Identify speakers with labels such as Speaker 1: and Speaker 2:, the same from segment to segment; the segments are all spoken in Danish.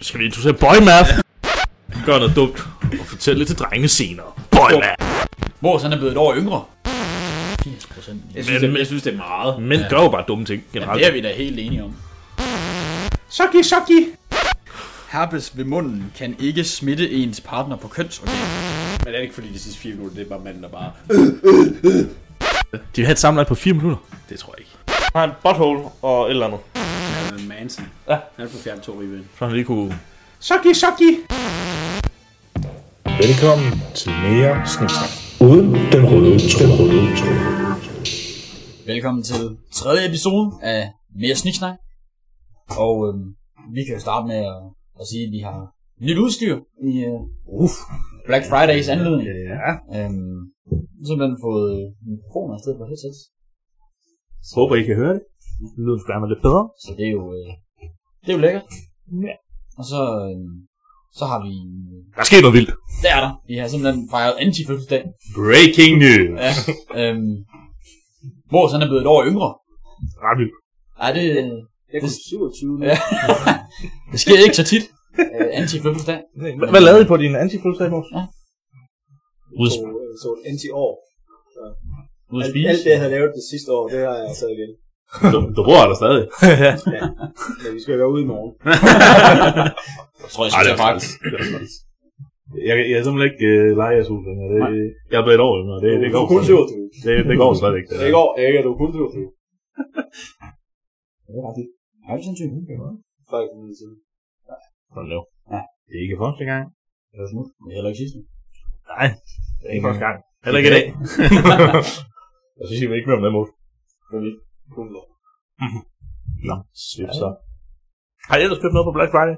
Speaker 1: skal vi introducere boymath? Gør noget dumt og fortæl det til drenge senere. Boymath!
Speaker 2: Hvor han er blevet et år yngre. Jeg synes,
Speaker 1: Men-
Speaker 2: det, jeg synes, det er meget.
Speaker 1: Mænd gør jo bare dumme ting
Speaker 2: Ja,
Speaker 1: generelt.
Speaker 2: det er vi da helt enige om.
Speaker 3: Soggy, soggy.
Speaker 2: Herpes ved munden kan ikke smitte ens partner på kønsorgan.
Speaker 3: Men er det ikke fordi de sidste fire minutter, det er bare manden, der bare...
Speaker 1: De vil have et samlet på 4 minutter.
Speaker 3: Det tror jeg ikke.
Speaker 1: Han har en butthole og et eller andet.
Speaker 3: Men Manson.
Speaker 1: Ja.
Speaker 3: Han har fået fjernet to ribben.
Speaker 1: Så han lige kunne...
Speaker 3: Soggy, soggy.
Speaker 4: Velkommen til mere sniksnak. Uden den røde tråd. Røde tråd.
Speaker 2: Velkommen til tredje episode af Mere Sniksnak. Og øhm, vi kan jo starte med at, at sige, at vi har nyt udstyr i øh, Uf. Black Fridays anledning.
Speaker 3: Ja.
Speaker 2: Øhm, simpelthen fået øh, mikrofoner i stedet for headsets.
Speaker 1: Håber, I kan høre det. Det lyder skulle være lidt bedre.
Speaker 2: Så det er jo, øh, det er jo lækkert.
Speaker 1: Ja.
Speaker 2: Og så, øh, så har vi...
Speaker 1: Der sker noget vildt.
Speaker 2: Der er der. Vi har simpelthen fejret anti-fødselsdag.
Speaker 1: Breaking news.
Speaker 2: Ja. øhm, Mors, han er blevet et år yngre.
Speaker 1: Ret vildt.
Speaker 2: Ej, det,
Speaker 3: Jeg
Speaker 2: kom
Speaker 3: 27
Speaker 2: Ja. det sker ikke så tit. Øh, anti-fødselsdag.
Speaker 1: H- Hvad lavede I på din antifødselsdag, Mors?
Speaker 2: Ja.
Speaker 1: Udsp-
Speaker 3: Så et anti-år.
Speaker 2: Ude at
Speaker 3: Alt,
Speaker 2: spise.
Speaker 3: alt det, jeg havde lavet det sidste år, det har jeg taget igen.
Speaker 1: du, du bor der stadig.
Speaker 3: Men vi skal jo være ude i morgen.
Speaker 2: Jeg tror, jeg synes, det er faktisk.
Speaker 1: Jeg, jeg er simpelthen ikke øh, lege jeres hus længere. Det, jeg er blevet et år yngre. Det, det, går
Speaker 3: kun
Speaker 1: slet,
Speaker 3: 27.
Speaker 1: det, det går slet ikke. Det,
Speaker 3: Det
Speaker 1: der.
Speaker 3: er ikke år, ikke, du er kun 27.
Speaker 2: Det er ret vildt. Har du sindssygt hund?
Speaker 3: Faktisk min tid.
Speaker 1: Sådan lav.
Speaker 2: Ja.
Speaker 1: Det er ikke første gang.
Speaker 2: Det er smut. Det er heller ikke sidste.
Speaker 1: Nej, det er ikke første gang. Heller ikke i dag. Jeg synes, I vil ikke mere om det, Mors.
Speaker 3: Kun lov.
Speaker 1: Nå, sygt så. Mhm. Har I ellers købt noget på Black Friday?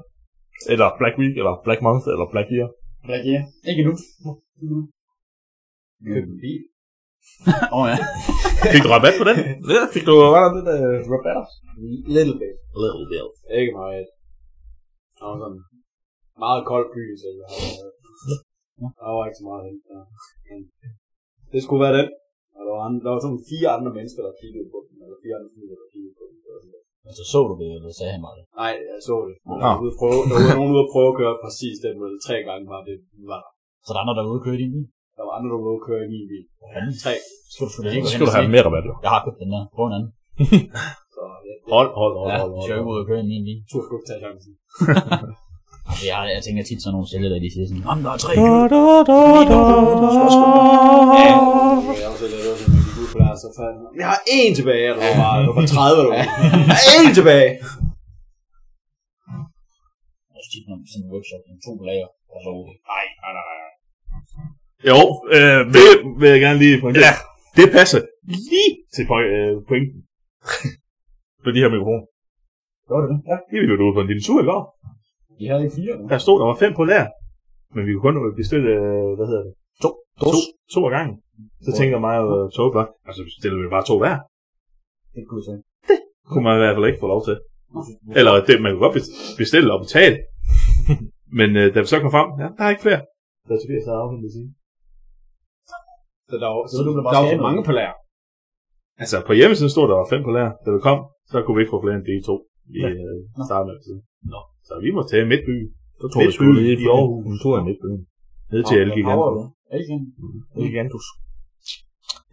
Speaker 1: Eller Black Week, eller Black Month, eller Black Year?
Speaker 2: Black Gear. Ikke nu.
Speaker 3: Køb en bil.
Speaker 2: Åh oh, ja.
Speaker 1: Fik du rabat på den? Ja, fik du hvad der lidt uh, rabatter?
Speaker 3: Little bit.
Speaker 1: Little deal.
Speaker 3: Ikke meget. Der var sådan meget kold by, så jeg har Der var ikke så meget hen. Ja. Men Det skulle være den. Og der var, andre, der var sådan fire andre mennesker, der kiggede på den. Eller fire andre familier, der kiggede på den. Det var sådan lidt.
Speaker 2: Altså, så du det, eller sagde han mig det?
Speaker 3: Nej, jeg så det. Men
Speaker 1: Nå.
Speaker 3: Der var, ude at prøve, der var nogen ude at prøve at køre præcis den måde. Tre gange var det. den Var. der.
Speaker 2: Så der er andre, der er ude og køre i din bil?
Speaker 3: Der var andre, der var ude at køre i min bil.
Speaker 2: Fanden.
Speaker 3: Tre.
Speaker 2: Skal du sgu da ikke gå hen
Speaker 1: Så skal du
Speaker 2: og
Speaker 1: have
Speaker 2: sige,
Speaker 1: mere rabat, jo.
Speaker 2: Jeg har købt den der. Prøv en anden.
Speaker 3: Så ja, det
Speaker 1: Hold, hold, hold,
Speaker 2: Ja,
Speaker 1: hold,
Speaker 2: du
Speaker 1: hold.
Speaker 2: skal jo ikke ud og køre i min bil.
Speaker 3: turde sgu ikke tage chancen.
Speaker 2: Altså, jeg, jeg tænker tit sådan nogle sælgere, der de siger sådan, Jamen, der er tre
Speaker 1: Da, da, da, da, da.
Speaker 3: Ja, jeg var så lidt over, når jeg gik ud på der, så fandt jeg, jeg har én tilbage, og der var bare, der var 30 derude. Jeg har én tilbage!
Speaker 2: Jeg synes tit, når man sådan en workshop, en to lager, og så ud.
Speaker 1: Nej, nej, nej. nej. Jo, øh, det vil jeg gerne lige pointere. Ja. Det passer lige til point, øh, pointen. på de her mikrofoner.
Speaker 2: Gjorde det det? Ja.
Speaker 1: De ville jo ud på en lille tur i går.
Speaker 2: De havde ikke fire.
Speaker 1: Der stod, der var fem på lær. Men vi kunne kun bestille, øh, hvad hedder det? To. To, to af gangen. Så tænkte jeg mig og Tove blot, altså bestiller vi bare to hver.
Speaker 2: Det kunne jeg sige.
Speaker 1: Kunne man i hvert fald ikke få lov til. Eller det, man kunne godt bes- bestille og betale. Men øh, da vi så kom frem, ja, der er ikke flere. Der er Tobias, der er afhentet sige.
Speaker 3: Så der var, så,
Speaker 2: Så du blev bare
Speaker 3: der var for
Speaker 2: skadet.
Speaker 3: mange på lager.
Speaker 1: Altså, på hjemmesiden stod der var fem på lær. Da vi kom, så kunne vi ikke få flere end de to i ja. øh, starten af tiden. Nå. Så vi måtte tage Midtby. Så
Speaker 5: tog vi sgu lige
Speaker 1: i Aarhus.
Speaker 5: en tur i Midtbyen.
Speaker 1: Ned til Mhm. Elgigantus.
Speaker 2: Ikke?
Speaker 1: Elgigantus.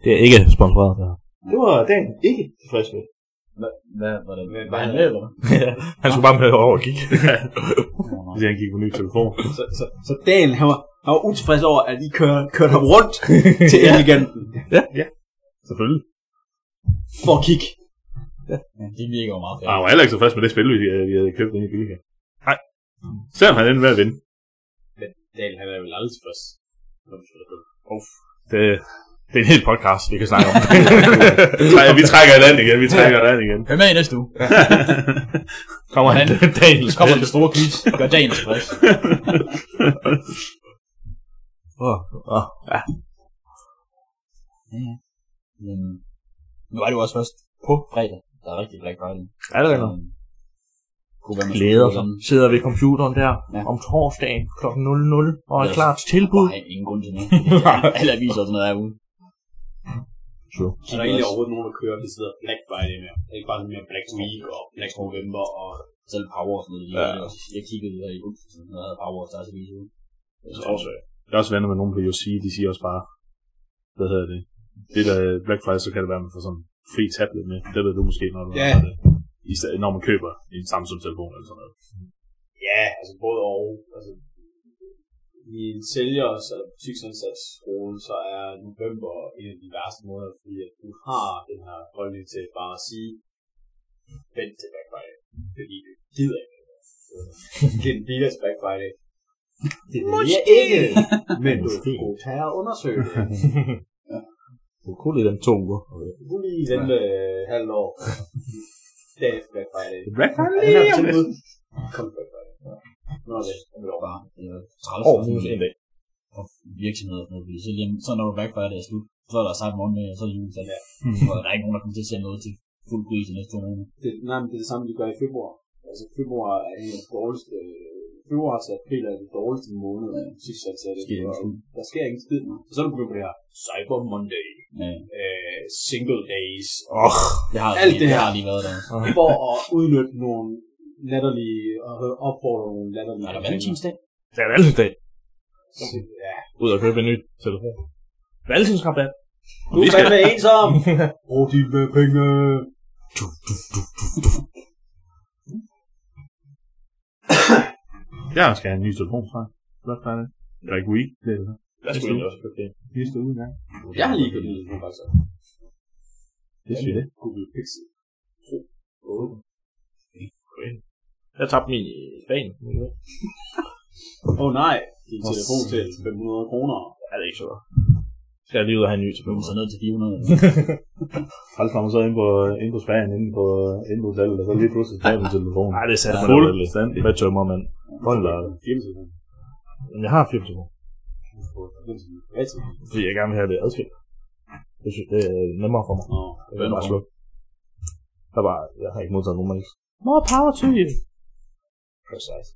Speaker 5: Det er ikke sponsoreret, det her.
Speaker 1: Det var dagen ikke tilfreds med.
Speaker 2: Hvad var det?
Speaker 3: Hvad-
Speaker 2: Var han med, eller hvad?
Speaker 1: Han skulle bare med over og kigge.
Speaker 2: Åh, nej.
Speaker 1: Fordi han gik på ny telefon.
Speaker 3: Så, så, så Dan, han var, han var utilfreds over, at I kørte, kørte ham rundt til Eleganten
Speaker 1: Selvfølgelig.
Speaker 3: for at kigge.
Speaker 2: Ja, det virker jo meget
Speaker 1: Og han
Speaker 2: fedt.
Speaker 1: var heller ikke så fast med det spil, vi, øh, vi havde købt inde i Bilka. Nej. Selvom han endte med at vinde.
Speaker 3: Dan, han er vel aldrig tilfreds. når vi spiller på.
Speaker 1: Det, det er en hel podcast, vi kan snakke om. Nej, vi trækker et land igen, vi trækker et land igen.
Speaker 2: Hør med i næste uge.
Speaker 1: Kommer han? Daniel
Speaker 2: Så kommer den store quiz. Gør dagen tilfreds.
Speaker 5: Åh, åh.
Speaker 2: Men nu er det jo også først på fredag. Der er rigtig Black Friday.
Speaker 5: Er det
Speaker 2: Så, øhm, Kunne være, man
Speaker 5: Glæder
Speaker 2: skulle
Speaker 5: sig.
Speaker 2: sådan-
Speaker 5: Sidder ved computeren der
Speaker 2: Ja.
Speaker 5: ja. om torsdagen kl. 00 og er
Speaker 2: Ja.
Speaker 5: klar til tilbud.
Speaker 2: Nej, ingen grund til noget. Alle aviser og sådan noget er ude.
Speaker 3: Er der egentlig overhovedet nogen, der kører ved siden af Black Friday mere? Det er ikke bare sådan mere Black Week og Black November og
Speaker 2: selv Power og sådan noget.
Speaker 1: Ja.
Speaker 2: Ja. Jeg, jeg kiggede der i bunden, sådan, og havde Power og Stars i videoen.
Speaker 1: Det er også, jeg er også venner med nogen på UFC, de siger også bare, hvad hedder det, det der øh, Black Friday, så kan det være, at man får sådan en fri tablet med. Det ved du måske, når du
Speaker 3: Ja.
Speaker 1: har det. I stedet, når man køber en Samsung-telefon eller sådan noget.
Speaker 3: Ja, altså både og. Altså, I en sælgers eller butiksansatsskole, så er november en af de værste måder, fordi at du har den her holdning til bare at sige, vent til Black Friday, fordi du gider ikke. Det er en billigst Black Friday. Det Måske! Ikke, men du
Speaker 5: Måske.
Speaker 3: kunne tage og undersøge det.
Speaker 5: Du kunne lige den to uger.
Speaker 3: Du kunne lige vente øh, halvt år. Dag efter Black Friday.
Speaker 1: Black Friday?
Speaker 3: Han har tilbud. Kom Black Friday. Nå, det er det.
Speaker 2: Bare øh, 30
Speaker 5: Over
Speaker 2: oh,
Speaker 5: huset en dag.
Speaker 2: for virksomheder og sådan noget. fordi Så, lige, om- så når Black Friday er slut, så er der sejt morgen med, og så er det jul. Så ja. og der er ikke nogen, der kommer til at sende noget til fuld pris i næste to måneder.
Speaker 3: det, nej, men det er det samme, de gør i februar. Altså februar er en af de dårligste... Øh, februar til april er den dårligste måned, ja. sidst jeg sagde det.
Speaker 2: Sker ikke en skid.
Speaker 3: Der sker ikke en skid. Og så er der begyndt på det her Cyber Monday,
Speaker 2: Ja.
Speaker 3: øh, Single Days,
Speaker 5: Åh,
Speaker 2: Det har,
Speaker 3: Alt
Speaker 2: lige,
Speaker 3: det
Speaker 2: det
Speaker 3: her.
Speaker 2: har lige været der.
Speaker 3: for at udnytte nogle latterlige, og opfordre nogle latterlige.
Speaker 2: Er der valentinsdag?
Speaker 5: det er valgtidsdag.
Speaker 3: Ja.
Speaker 5: Ud og købe en ny telefon. Valgtidsrabat.
Speaker 3: Du er fandme ensom! Brug dine penge!
Speaker 1: Jeg skal have en ny telefon fra. Black Friday. Jeg er ikke weak. Det er det. Jeg
Speaker 5: skulle egentlig
Speaker 1: også købe det. Næste uge engang.
Speaker 3: Jeg har lige købt en telefon, faktisk.
Speaker 1: Det synes jeg.
Speaker 3: Google Pixel.
Speaker 5: Jeg tabte min i Spanien.
Speaker 3: Åh oh, nej, din telefon til 500 kroner.
Speaker 5: Ja, det er ikke så godt. Skal jeg lige ud og have en ny
Speaker 2: Du
Speaker 5: telefon.
Speaker 2: så
Speaker 3: Altså,
Speaker 2: ned til 400.
Speaker 1: Hold kommer så ind på, ind på Spanien, ind på, ind på hotellet, og så lige pludselig tager min telefon.
Speaker 5: Nej, det er sat
Speaker 1: Ja,
Speaker 5: fuld.
Speaker 1: fuldstændig. Hvad tømmer man? Hold da. op.
Speaker 3: Firmatelefon.
Speaker 5: Men jeg har en filmtelefon,
Speaker 3: Firmatelefon.
Speaker 5: fordi jeg gerne vil have det adskilt. Jeg synes, det er nemmere for mig.
Speaker 3: Nå,
Speaker 5: Jeg kan bare slukke. Der var, jeg har ikke modtaget nogen mails. More power to you. Præcis.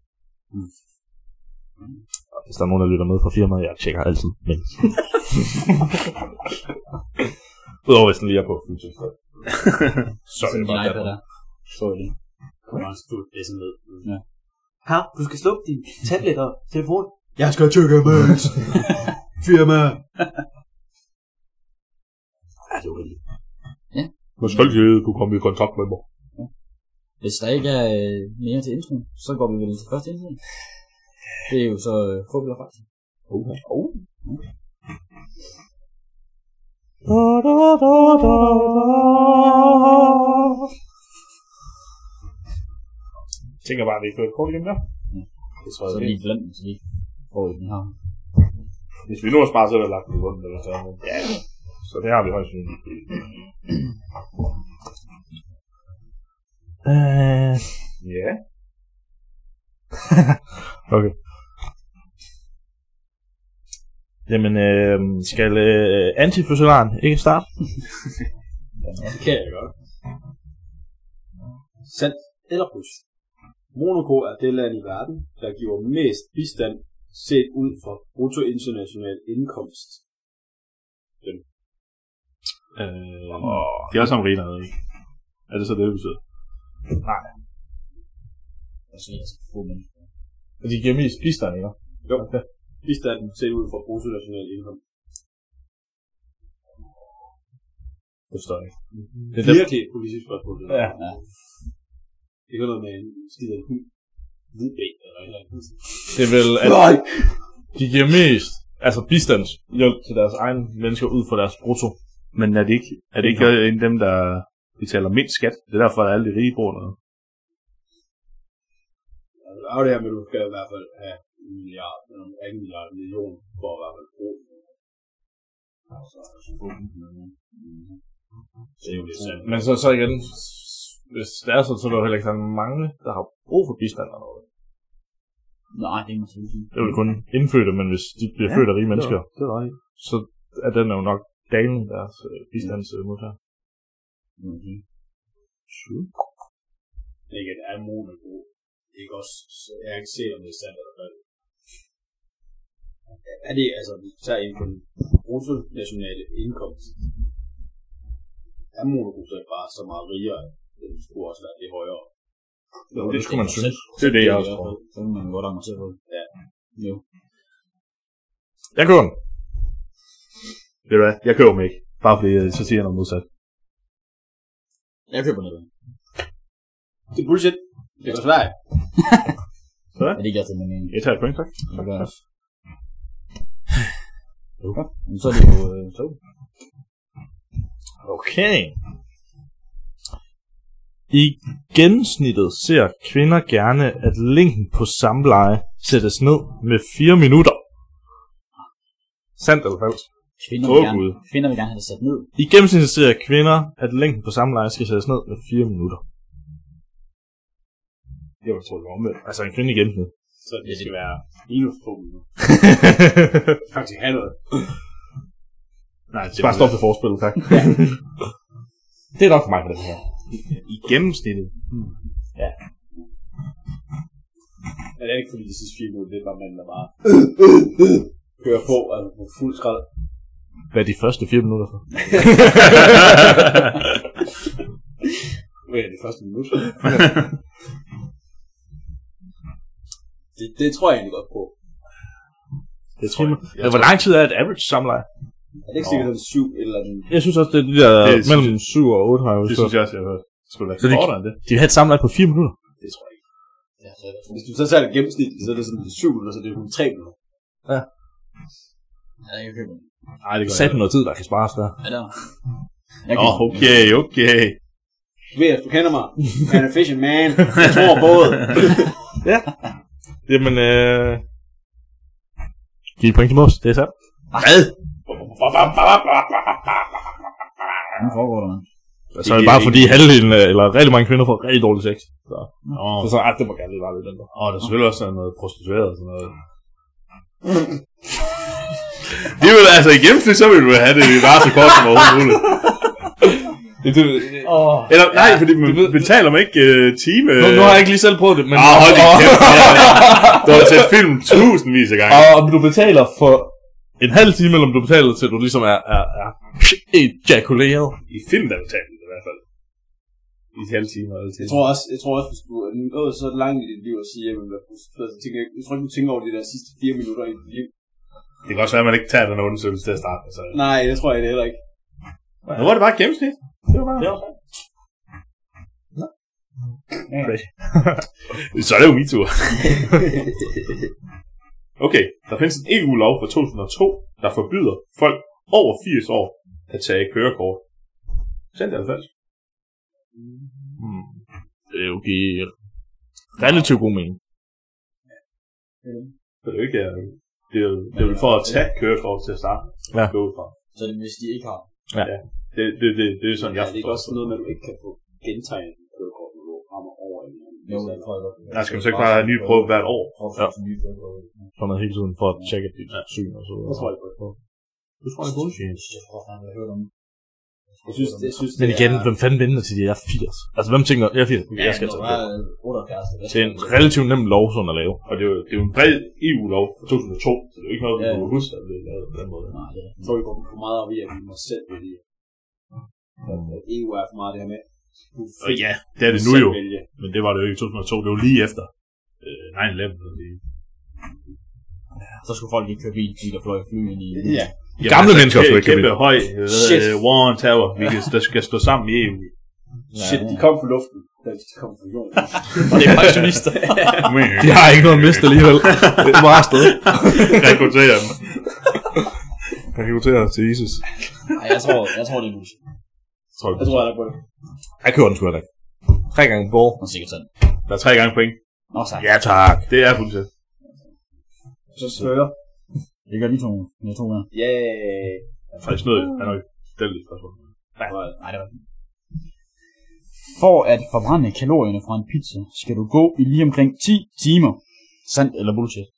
Speaker 1: Mm.
Speaker 5: Og hvis der er nogen, der lytter med fra firmaet, jeg tjekker altid mails. Udover hvis den lige er på fuldtid. Så er
Speaker 2: Sådan
Speaker 5: det
Speaker 2: din
Speaker 5: bare
Speaker 2: iPad
Speaker 5: derfor.
Speaker 2: der. Så er det.
Speaker 3: kommer han stort det sådan ned.
Speaker 2: Ja.
Speaker 3: Her, du skal slukke din tablet og telefon. Jeg skal tjekke mails. Firma.
Speaker 5: Ja, det er uheldigt.
Speaker 1: Hvor stolt jeg er, kunne komme i kontakt med mig.
Speaker 2: Hvis der ikke er øh, mere til introen, så går vi vel til første indslag. Det er jo så øh, fodbold og faktisk.
Speaker 1: Okay.
Speaker 2: Oh.
Speaker 5: Jeg tænker bare, at vi kan kort igennem der.
Speaker 1: Mm. Det tror
Speaker 2: Så
Speaker 1: jeg,
Speaker 2: vi glemt, så vi får den her.
Speaker 1: Hvis vi nu har sparet, så er det lagt i bunden, eller sådan noget. Ja. Så det har vi højst synligt.
Speaker 5: Øh,
Speaker 1: Ja.
Speaker 5: okay. Jamen, øh, skal øh, antifødselaren ikke starte?
Speaker 3: Det kan jeg godt. Sand eller plus. Monaco er det land i verden, der giver mest bistand set ud fra bruttointernational indkomst.
Speaker 1: Øh, de er alle sammen rige dernede, ikke? Er det så det, det betyder?
Speaker 2: Og så er det få mennesker.
Speaker 5: Og de giver mest bistand, ikke?
Speaker 3: Jo, okay. bistand set ud fra bruttonational indkomst.
Speaker 5: Det forstår jeg ikke.
Speaker 3: Det
Speaker 5: Det
Speaker 3: er
Speaker 5: er dem-
Speaker 3: virkelig et politisk spørgsmål. det der.
Speaker 5: Ja.
Speaker 2: Ja.
Speaker 3: Det er noget med en skid af en hund. Hvid ben, eller et eller andet.
Speaker 5: Det er vel, at
Speaker 3: Nej!
Speaker 5: de giver mest, altså bistandshjælp til deres egne mennesker ud fra deres brutto.
Speaker 1: Men er det ikke, er det ikke øh, en af dem, der betaler mindst skat? Det er derfor, at alle de rige bor dernede.
Speaker 3: Altså, der er jo det her med, at du skal i hvert fald have en milliard, eller en anden milliard, en million, for at i hvert fald bruge den. Altså, altså, få den, men, mm, det er jo lidt sandt.
Speaker 5: Men så, så igen, s- hvis det er sådan, så er der jo heller ikke sådan mange, der har brug for bistand eller noget.
Speaker 2: Nej, det må man sige.
Speaker 5: Det er jo kun indfødte, men hvis de bliver
Speaker 1: Ja,
Speaker 5: ja, født af rige mennesker,
Speaker 1: Det er rigtigt.
Speaker 5: så er den jo nok dalen deres øh, bistandsmodtager.
Speaker 3: Mhm.
Speaker 2: Okay.
Speaker 3: Men igen, er Monaco ikke også, så jeg kan ikke se, om det er sandt eller falsk. Er det, altså, hvis vi tager ind på den bruttonationale indkomst, er Monaco så ikke bare så meget rigere, at det skulle også være det højere?
Speaker 5: Jo, det skulle man synes.
Speaker 1: Det er det, jeg
Speaker 2: Jeg
Speaker 1: også tror.
Speaker 2: Så kan man godt engagere på det. Ja. Jo.
Speaker 5: Jeg kører den.
Speaker 1: Ved du hvad? Jeg køber dem ikke. Bare fordi, øh, så siger jeg noget modsat.
Speaker 2: Jeg køber noget.
Speaker 3: Det er bullshit. Det er svært.
Speaker 2: Er det ikke altid min mening?
Speaker 1: Jeg tager et point, tak.
Speaker 2: Det gør jeg også. Okay. Men så er det jo øh, to.
Speaker 5: Okay. I gennemsnittet ser kvinder gerne, at længden på samleje sættes ned med 4 minutter. Sandt eller falsk?
Speaker 2: Kvinder
Speaker 1: Åh,
Speaker 2: vil, gerne,
Speaker 1: Gud.
Speaker 2: kvinder vil gerne have det sat ned.
Speaker 5: I gennemsnittet ser kvinder, at længden på samleje skal sættes ned med 4 minutter.
Speaker 1: Jeg tror, det var omvendt.
Speaker 5: Altså en kvinde i gennemsnit.
Speaker 3: Så det skal være minus to minutter. Faktisk halvet.
Speaker 1: Nej, det
Speaker 5: er
Speaker 1: bare
Speaker 5: bare-
Speaker 1: stop det forspillet, tak.
Speaker 5: Det er nok for mig for den her.
Speaker 1: I gennemsnittet.
Speaker 3: Men det er ikke fordi de sidste fire minutter, det er bare manden, der bare kører på, altså på fuld skrald.
Speaker 5: Hvad er de første 4 minutter så?
Speaker 3: Hvad er det første minut? det, det tror jeg egentlig godt på.
Speaker 5: Det tror jeg. jeg Hvor lang tid er et average samleje?
Speaker 3: Er det ikke sikkert den syv eller den...
Speaker 5: Jeg synes også, det er de der
Speaker 1: Det synes
Speaker 5: mellem 7 og 8 har jeg jo
Speaker 1: Øh, Det
Speaker 5: så.
Speaker 1: synes jeg også, jeg har hørt. Skulle det
Speaker 5: Så
Speaker 1: være
Speaker 5: det-
Speaker 1: kortere end det?
Speaker 5: De vil have et samleje på 4 minutter.
Speaker 3: Det tror jeg ikke. Hvis du så tager det gennemsnitligt, så er det sådan syv minutter, så det er jo tre minutter.
Speaker 2: Ja, jeg køber den.
Speaker 1: Nej, det
Speaker 5: Sæt noget tid, der kan spares der.
Speaker 2: Ja, der. Jeg
Speaker 1: Nå, okay, okay.
Speaker 3: Ved at du kender mig. Man a fishing man. Jeg tror både.
Speaker 5: Jamen, øh... Giv et point til Mås, det er sandt.
Speaker 1: Hvad?
Speaker 2: Nu foregår der noget.
Speaker 5: Og så er det bare fordi halvdelen,
Speaker 1: øh,
Speaker 5: af- eller rigtig mange kvinder får rigtig dårlig sex. Så, så, så ah, det må gerne lige være lidt den der.
Speaker 1: Åh, der er selvfølgelig også noget prostitueret og sådan noget. Det vil altså i gennemsnit, så vil du have det bare så kort som overhovedet muligt.
Speaker 5: Det,
Speaker 2: Åh.
Speaker 1: Eller nej, fordi man
Speaker 5: du ved-
Speaker 1: betaler man ikke øh, time...
Speaker 5: nu, nu, har jeg ikke lige selv prøvet det, men...
Speaker 1: Åh, Ah, hold din kæft. Du har set film tusindvis af gange.
Speaker 5: Og om du betaler for en halv time, eller om du betaler til, at du ligesom er, er, er ejakuleret.
Speaker 1: I film, der betaler det i hvert fald. I et halvt time eller til.
Speaker 3: Jeg tror også, jeg tror også, hvis du er nået så langt i dit liv at sige, at jeg vil være prostitueret, så tænker jeg, jeg tror ikke, du tænker over de der sidste fire minutter i dit liv.
Speaker 1: Det kan også være, at man ikke tager den undersøgelse til at starte. med, Så.
Speaker 3: Nej, det tror jeg det heller ikke.
Speaker 1: Nu var det bare et gennemsnit.
Speaker 5: Det var bare...
Speaker 1: Så er det jo min tur. okay, der findes en EU-lov fra 2002, der forbyder folk over 80 år at tage kørekort. altså. Sandt eller falsk?
Speaker 5: Hmm. Det er jo give relativt god mening.
Speaker 1: Det er jo ikke... øh, Det er, jo- det er vel for at tage kørekort til at starte.
Speaker 5: Ja.
Speaker 1: Gå ud fra.
Speaker 2: Så det, hvis de ikke har.
Speaker 1: Det, det, det, det er sådan,
Speaker 3: jeg
Speaker 1: jeg
Speaker 3: er det ikke
Speaker 1: forstår
Speaker 3: også noget med, at du ikke kan få gentegnet dit kørekort, når du rammer over en eller anden?
Speaker 2: Jo, det tror jeg godt.
Speaker 1: det. Nej, skal man så ikke bare have en ny prøve hvert år?
Speaker 5: Ja.
Speaker 2: Ja.
Speaker 5: Så man hele tiden for at tjekke dit syn og så
Speaker 3: Det tror jeg godt på.
Speaker 1: Du tror, det er bullshit.
Speaker 2: Jeg tror, han har hørt om det.
Speaker 3: Jeg synes, jeg synes
Speaker 5: Men
Speaker 3: det
Speaker 5: igen,
Speaker 3: er,
Speaker 5: hvem fanden venter til de er 80? Altså, hvem tænker, jeg er 80,
Speaker 2: Ja,
Speaker 5: jeg skal
Speaker 2: når
Speaker 5: tage
Speaker 2: du
Speaker 5: det.
Speaker 2: er 78. hvad
Speaker 5: Det
Speaker 2: skal
Speaker 5: er en
Speaker 2: du så?
Speaker 5: relativt nem lov, sådan at lave.
Speaker 1: Og det er jo, det er jo en bred EU-lov fra 2002, så det er jo ikke noget, vi
Speaker 2: Ja.
Speaker 1: kunne huske, at det er lavet på den måde.
Speaker 2: Nej, det er
Speaker 3: jeg tror, vi går for meget op i, at vi må selv vælge. At EU er for meget det her med. Du
Speaker 1: øh,
Speaker 3: er
Speaker 1: Og
Speaker 3: fri,
Speaker 1: ja, det er det
Speaker 3: du
Speaker 1: nu
Speaker 3: selv
Speaker 1: jo,
Speaker 3: vælge.
Speaker 1: men det var det jo ikke i 2002, det var lige efter øh, 9-11. så det-
Speaker 2: Så skulle folk ikke køre bil, fordi der fløj fly ind i...
Speaker 3: Ja,
Speaker 1: Jamen,
Speaker 5: Gamle mennesker
Speaker 1: kæ-
Speaker 5: skal ikke
Speaker 1: kæmpe høj
Speaker 3: Shit.
Speaker 1: øh, war on terror, vi kan, der skal stå sammen i E EU.
Speaker 3: shit, de kom fra luften. Da de kom fra jorden.
Speaker 2: det er pensionister.
Speaker 5: De har ikke noget at miste alligevel. Det er bare afsted.
Speaker 1: Rekruttere dem.
Speaker 5: Rekruterer til ISIS.
Speaker 2: Nej, jeg tror, jeg tror, det er bullshit.
Speaker 1: Tror du?
Speaker 3: Jeg tror, jeg er på det.
Speaker 5: Jeg kører den sgu heller ikke. Tre gange ball.
Speaker 2: Nå, sikkert sådan.
Speaker 1: Der er tre gange point.
Speaker 2: Nå, sagt.
Speaker 5: Ja, tak.
Speaker 1: Det er fuldstændig.
Speaker 3: Så fører.
Speaker 2: Det gør lige to, med to mere.
Speaker 3: Ja.
Speaker 1: Frederik Snød, han har jo stillet et spørgsmål.
Speaker 2: Nej, det var den. For at forbrænde kalorierne fra en pizza, skal du gå i lige omkring 10 timer. Sandt eller bullshit?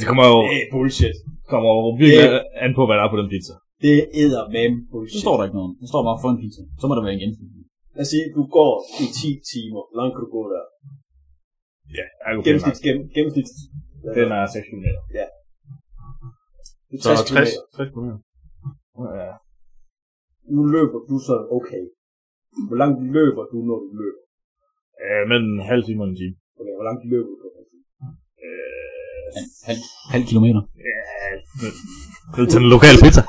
Speaker 5: Det kommer jo,
Speaker 3: Det er bullshit.
Speaker 5: kommer jo virkelig an på, hvad der er på den pizza.
Speaker 3: Det er eddermame
Speaker 2: Så
Speaker 3: bullshit.
Speaker 2: står der ikke noget om. Der står bare for en pizza. Så må der være en gennemsnit.
Speaker 3: Lad os sige, du går i 10 timer. Hvor langt kan du gå der?
Speaker 1: Ja, jeg kunne finde
Speaker 3: Gennemsnit, gennem, gennemsnit.
Speaker 5: Den er 6 km.
Speaker 3: Det er
Speaker 1: Så
Speaker 3: 60
Speaker 1: 60,
Speaker 3: kilometer.
Speaker 1: 60 km.
Speaker 5: Ja.
Speaker 3: Nu løber du så okay. Hvor langt løber du, når du løber?
Speaker 1: Øh, men en halv time og en time.
Speaker 3: Okay, hvor langt løb du på?
Speaker 2: Halv, halv kilometer.
Speaker 1: Ned til den lokale pizza.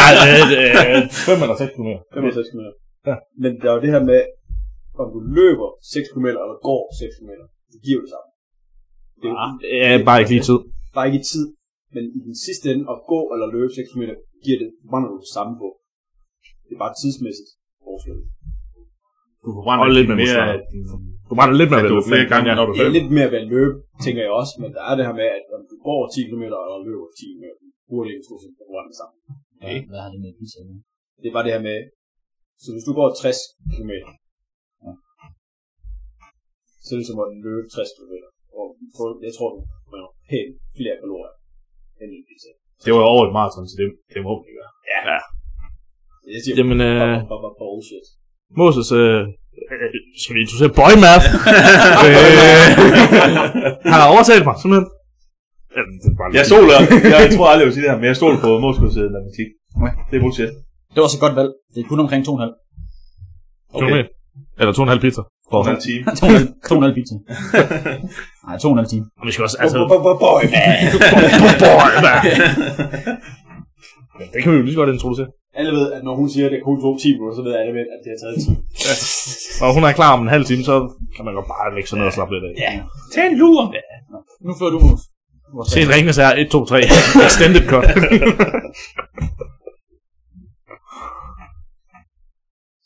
Speaker 1: Ej, øh, øh, 5 eller 6 km.
Speaker 3: 65 km.
Speaker 1: Ja.
Speaker 3: Men der er jo det her med, om du løber 6 km eller går 6 km, det giver jo det samme. Det er jo
Speaker 1: Ja, bare ikke lige tid.
Speaker 3: bare ikke i tid, men i den sidste ende at gå eller løbe 6 km, giver det, brænder du det samme på. Det er bare tidsmæssigt forskel.
Speaker 6: Du forbrænder
Speaker 1: Og lidt med
Speaker 6: mere,
Speaker 1: musklerne.
Speaker 6: at din-
Speaker 1: Du brænder lidt mere
Speaker 6: at du er flere gange, når du
Speaker 3: Det er
Speaker 6: løber.
Speaker 3: lidt mere ved at løbe, tænker jeg også, men der er det her med, at om du går 10 km eller løber 10 km, hurtigt er stort set brænder det samme.
Speaker 2: Okay. Hvad har det med pizza? at gøre?
Speaker 3: Det er bare det her med, så hvis du går 60 km, så er det som at løbe 60 km. Og på- jeg tror, du brænder pænt flere kalorier end en pizza.
Speaker 6: Det var jo over et maraton, så det, det må vi gøre.
Speaker 3: Jeg siger,
Speaker 1: Jamen, øh,
Speaker 3: bare, bare, bare bullshit.
Speaker 1: Moses, øh, øh, skal vi introducere boymath? øh, han har overtalt mig, simpelthen. Ja, det er bare lidt-
Speaker 6: Jeg stoler, jeg, jeg tror aldrig, jeg vil sige det her, men jeg stoler på Moskvas øh, matematik.
Speaker 2: Okay.
Speaker 6: Det er bullshit.
Speaker 2: Det var så godt valg. Det er kun omkring 2,5.
Speaker 1: Okay. Eller to og en halv pizza. For.
Speaker 6: Og en time.
Speaker 2: 2,5 2,5 pizza. Nej, 2,5 time.
Speaker 1: Og vi skal også, altså...
Speaker 3: Boy, man.
Speaker 1: det kan vi jo lige så godt introducere.
Speaker 3: Alle ved, at når hun siger, at det kun tog 10 minutter, så ved alle, ved, at det har taget 10.
Speaker 1: Og hun er klar om en halv time, så kan man godt bare lægge sig ned og slappe lidt af.
Speaker 2: Ja. Tag en lur. Ja. Nå. Nu fører du mus.
Speaker 1: Se en ringende her 1, 2, 3. Extended cut.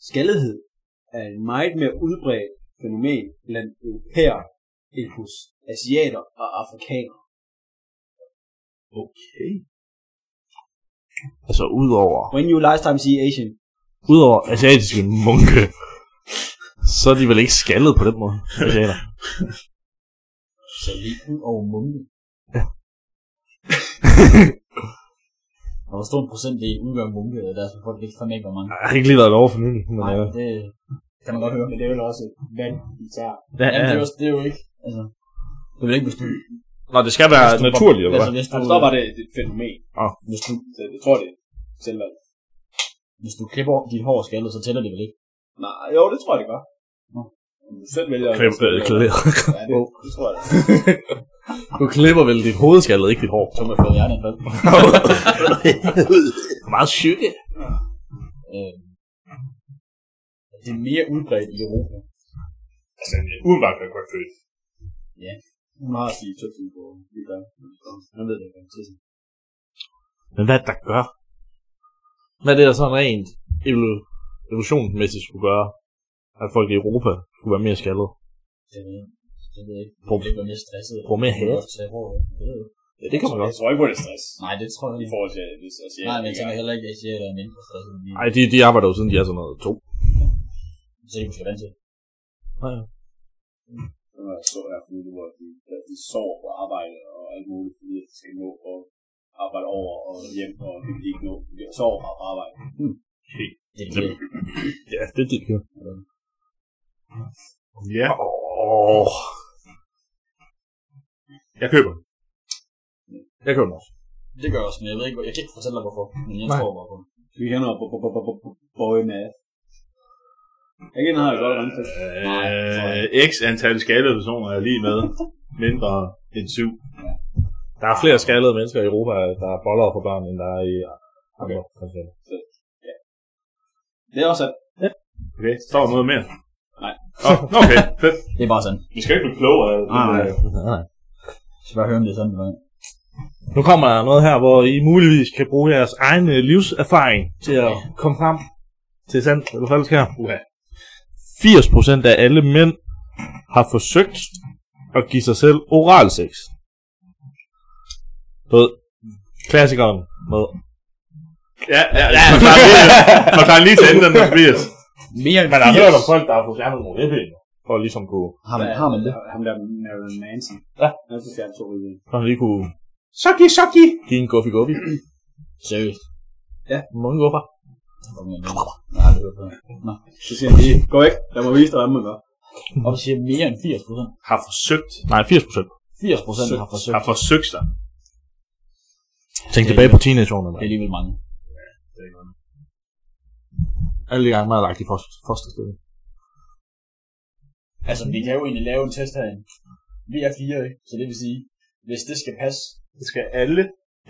Speaker 3: Skaldhed er en meget mere udbredt fænomen blandt europæer end hos asiater og afrikanere.
Speaker 1: okay. Altså, udover...
Speaker 3: When you last time see Asian,
Speaker 1: Udover asiatiske munke, så er de vel ikke skaldet på den måde, asiater.
Speaker 2: Så lige ud over munke. Og hvor stor en procentdel udgør munke af deres befolkning? Det er fandme ikke, hvor mange.
Speaker 1: Jeg har ikke lige været over for nylig. men,
Speaker 2: Nej,
Speaker 1: øh,
Speaker 2: det kan man godt høre.
Speaker 3: men det er vel også et vand, de tager.
Speaker 1: Ja,
Speaker 2: Jamen, det er
Speaker 1: ja.
Speaker 2: jo, det er jo ikke, altså... Det vil ikke, hvis du...
Speaker 1: Nå, det skal være naturligt, eller
Speaker 2: altså,
Speaker 1: hvad?
Speaker 2: hvis du,
Speaker 3: Han står bare, det er et fænomen.
Speaker 2: hvis du,
Speaker 3: Så jeg tror, det er selvvalgt.
Speaker 2: hvis du klipper dit hår skaldet, så tæller det vel ikke?
Speaker 3: Nej, jo, det tror jeg, det gør. Nå. Om Du selv vælger... at-
Speaker 1: Klip- øh, klæder.
Speaker 3: Ja, det, det tror jeg. da.
Speaker 1: Du klipper vel dit hovedskaldet, ikke dit hår.
Speaker 2: Så må jeg få et hjerneanfald.
Speaker 1: Meget syge.
Speaker 2: Øh, det er mere udbredt i Europa.
Speaker 6: Altså, udenbart kan jeg godt føle.
Speaker 3: Hun har sige tøften på lige der. Han ved det ikke. han siger sådan.
Speaker 1: Men hvad er det, der gør? Hvad er det, der sådan rent evolu- evolutionsmæssigt skulle gøre, at folk i Europa skulle være mere skaldede?
Speaker 2: Det ved jeg- det ved jeg ikke.
Speaker 1: Prøv-
Speaker 2: Det bliver mere stresset.
Speaker 1: prøv mere hat.
Speaker 2: Så jeg prøver- det ved jeg ikke.
Speaker 1: Ja, det kan man
Speaker 3: Jeg
Speaker 1: godt.
Speaker 3: tror ikke på det er stress.
Speaker 2: Nej, det tror jeg
Speaker 3: I
Speaker 2: ikke.
Speaker 3: forhold til, hvis jeg siger...
Speaker 2: Nej, men jeg tænker heller ikke, at jeg siger, at jeg er mindre stresset. end de-
Speaker 1: Nej, de, de arbejder jo siden de er sådan noget to.
Speaker 2: Så er de måske vant til. det.
Speaker 3: når jeg så her for nylig, hvor de, der de sov på arbejde og alt muligt, fordi at de skal nå og arbejde over og hjem, og det kan de ikke nå. De sover bare på arbejde.
Speaker 1: Hmm.
Speaker 2: Det er det.
Speaker 1: Ja, det er det, de gør.
Speaker 6: Ja.
Speaker 1: Åh.
Speaker 6: Jeg køber. den.
Speaker 1: Jeg køber den også.
Speaker 2: Det gør jeg også, men jeg ved ikke, hvor- jeg kan ikke fortælle dig hvorfor. Men jeg
Speaker 1: Nej.
Speaker 2: tror bare på det.
Speaker 3: Vi kender på på på på på boy math. Jeg kender har jeg godt anfældt.
Speaker 6: Øh, x antal skaldede personer er lige med mindre end syv.
Speaker 1: Der er flere skaldede mennesker i Europa, der er boller for børn, end der er i andre kontinenter.
Speaker 3: Det er også sandt.
Speaker 6: Okay, så står der noget mere?
Speaker 3: Nej.
Speaker 6: Oh, okay, fedt.
Speaker 2: Det er bare sådan.
Speaker 6: Vi skal ikke blive klogere. af det
Speaker 2: Nej, nej.
Speaker 6: der.
Speaker 1: Nej.
Speaker 2: Så bare høre, om det er sådan, eller hvad.
Speaker 1: Nu kommer der noget her, hvor I muligvis kan bruge jeres egen øh, livserfaring til at komme frem til sandt eller falsk her.
Speaker 6: Uha.
Speaker 1: 80% af alle mænd har forsøgt at give sig selv oral sex. Du ved, klassikeren med.
Speaker 6: Ja, ja, ja. Forklar lige, forklar lige til enden, Tobias.
Speaker 2: Mere end
Speaker 1: Men der er
Speaker 2: 80.
Speaker 1: hørt om folk, der har fået fjernet nogle ribben, for at ligesom kunne,
Speaker 2: Har man, har man det?
Speaker 3: Ham der Marilyn Manson.
Speaker 1: Ja.
Speaker 3: Han skal fjerne to rige.
Speaker 1: for at lige kunne
Speaker 6: Sucky, sucky.
Speaker 1: give en guffi guffi.
Speaker 2: Seriøst.
Speaker 1: Mange guffer.
Speaker 2: Nej, det hører Nå.
Speaker 3: Så siger han lige, gå væk, lad mig vise dig, hvad man gør.
Speaker 2: Og du siger mere end 80 procent.
Speaker 6: Har forsøgt.
Speaker 1: Nej, 80%.
Speaker 2: 80 procent har forsøgt.
Speaker 6: Har forsøgt sig.
Speaker 1: Tænk
Speaker 2: Det-
Speaker 1: tilbage på teenageårene.
Speaker 2: Det er
Speaker 1: mand.
Speaker 2: alligevel mange.
Speaker 1: Alle de gange, man har lagt i fosterstilling.
Speaker 2: Altså, vi kan jo egentlig lave en test herinde. Vi er fire, ikke? Så det vil sige, hvis det skal passe...
Speaker 3: Det skal alle.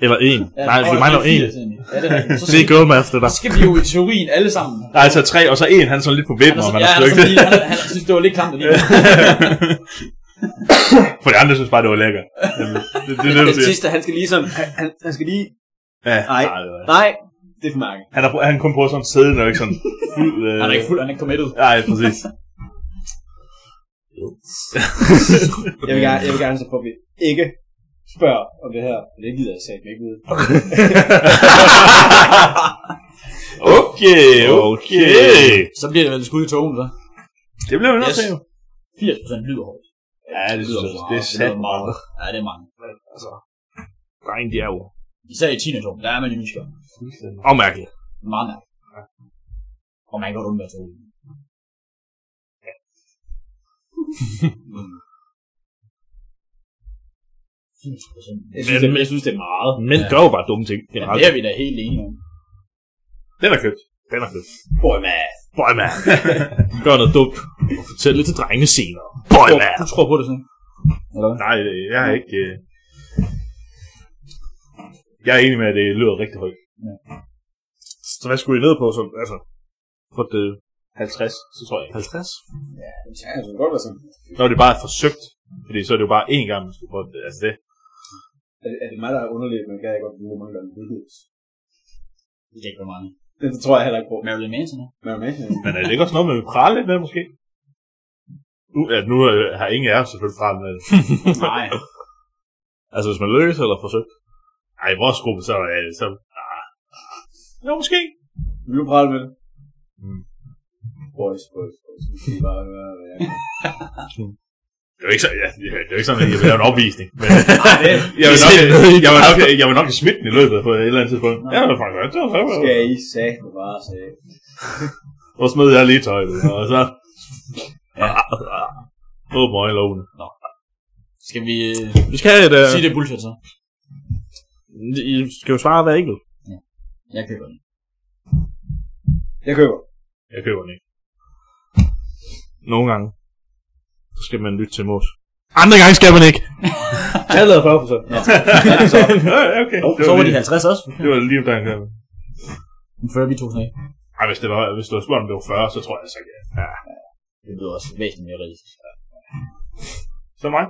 Speaker 5: Eller en.
Speaker 2: Ja,
Speaker 5: Nej,
Speaker 2: og
Speaker 5: vi mangler
Speaker 2: er
Speaker 5: en.
Speaker 2: fire, sådan. Ja, det er rigtigt. Så
Speaker 5: Det
Speaker 2: skal,
Speaker 5: er Girlmath, det
Speaker 2: vi,
Speaker 5: der.
Speaker 2: så skal vi jo i teorien alle sammen.
Speaker 1: Der er altså tre, og så en, han er sådan lidt på
Speaker 2: Han
Speaker 1: vippen,
Speaker 2: er
Speaker 1: og
Speaker 2: så,
Speaker 1: man
Speaker 2: ja,
Speaker 1: er
Speaker 5: altså,
Speaker 2: han, er
Speaker 1: flygtet.
Speaker 2: sådan lige, han, han, synes, det var lidt klamt alligevel.
Speaker 1: For de andre synes bare, det var lækkert. Jamen, Det, det, er det, du
Speaker 3: Den
Speaker 1: siger.
Speaker 3: sidste, han skal lige
Speaker 2: ligesom-
Speaker 3: sådan, han, han, han skal lige,
Speaker 1: Ja,
Speaker 3: nej,
Speaker 1: nej.
Speaker 3: nej, det er for mange.
Speaker 1: Han, er, han kom på sådan siddende og ikke sådan fuld... Øh,
Speaker 2: Han er ikke fuld, han er ikke committed.
Speaker 1: Nej, præcis.
Speaker 3: Jeg vil gerne, jeg vil gerne så få, at vi ikke spørger om det her, for det gider jeg sagt ikke ud.
Speaker 1: Okay, okay.
Speaker 2: Så bliver det vel et skud i togen, hva'?
Speaker 1: Det blev vi nødt
Speaker 2: Yes.
Speaker 1: til, jo.
Speaker 2: 80% lyder hårdt.
Speaker 1: Ja, det synes jeg.
Speaker 2: meget.
Speaker 1: Det er sandt.
Speaker 2: lyder meget. Ja, det er mange.
Speaker 5: Dreng, de er jo.
Speaker 2: Især i teenageåren, der er man jo nysgerrig.
Speaker 5: Og mærkeligt.
Speaker 2: Meget mærkeligt. Og man kan godt undvære togen. Ja. 80%.
Speaker 3: Jeg synes, det, jeg synes, det er meget.
Speaker 5: Mænd
Speaker 2: Ja.
Speaker 5: gør jo bare dumme ting.
Speaker 2: Ja,
Speaker 5: Generelt.
Speaker 2: det er vi da helt enige om.
Speaker 1: Den er købt.
Speaker 5: Den er fedt.
Speaker 2: Boy, man.
Speaker 5: Boy, man. Gør noget dumt. Og fortæl det til drenge senere. Boy, man.
Speaker 2: Du tror på det, sådan. Eller hvad?
Speaker 1: Nej, det- jeg er ikke... Øh... Jeg er enig med, at det lyder rigtig højt.
Speaker 5: Så hvad skulle I ned på? Så, altså, for det
Speaker 1: 50, så tror jeg.
Speaker 5: 50?
Speaker 3: Ja, det kan godt være sådan.
Speaker 1: Når det bare er forsøgt, fordi så er det jo bare én gang, man skal prøve det. Altså det.
Speaker 3: Er, det- er det mig, der er underligt, men kan jeg godt bruge mange gange lydhus?
Speaker 2: Det kan ikke være mange.
Speaker 3: Det tror jeg heller ikke på. Men
Speaker 2: Marilyn Manson, ikke?
Speaker 3: er du med?
Speaker 1: Men er det ikke også noget, man vil prale lidt med, måske? Uh, ja, nu øh, har ingen af jer selvfølgelig pralet med det.
Speaker 2: Nej.
Speaker 5: Altså, hvis man lykkes eller forsøgt.
Speaker 1: Ej, i vores gruppe, så er det så... Ah. Jo, måske.
Speaker 3: Vil du prale med det?
Speaker 1: Mm.
Speaker 3: Boys, boys, boys. Nu skal I bare høre, hvad jeg kan.
Speaker 1: Det er jo ikke, så, ja, det er jo ikke sådan, at jeg vil lave en opvisning. Men
Speaker 2: det,
Speaker 1: jeg, vil nok,
Speaker 5: Det er ikke-
Speaker 1: jeg, vil nok, jeg vil nok smitte den i løbet på et eller andet tidspunkt. Ja, det var faktisk godt. Det var faktisk
Speaker 3: Skal
Speaker 1: godt.
Speaker 3: I satme bare sige.
Speaker 1: Og så smed jeg lige tøjet, og så... Åh, møj, lovende.
Speaker 2: skal vi øh,
Speaker 5: Vi skal have et... Øh,
Speaker 2: sige det er bullshit så?
Speaker 5: I skal jo svare hver enkelt.
Speaker 2: Jeg køber den.
Speaker 3: Jeg køber.
Speaker 1: Jeg køber den ikke.
Speaker 5: Nogle gange. Så skal man lytte til mos. Andre gange skal man ikke. jeg lavede 40 procent.
Speaker 1: Ja, okay.
Speaker 2: Oh,
Speaker 1: Det
Speaker 2: så
Speaker 1: var
Speaker 2: var de
Speaker 1: lige,
Speaker 2: 50 også.
Speaker 1: det var lige, omkring der
Speaker 2: Den før vi tog sådan af.
Speaker 1: Ej, hvis det var, hvis det var spurgt, om det var 40, så tror jeg, så ja.
Speaker 2: Det lyder også væsentligt mere rigtigt.
Speaker 1: Så mig?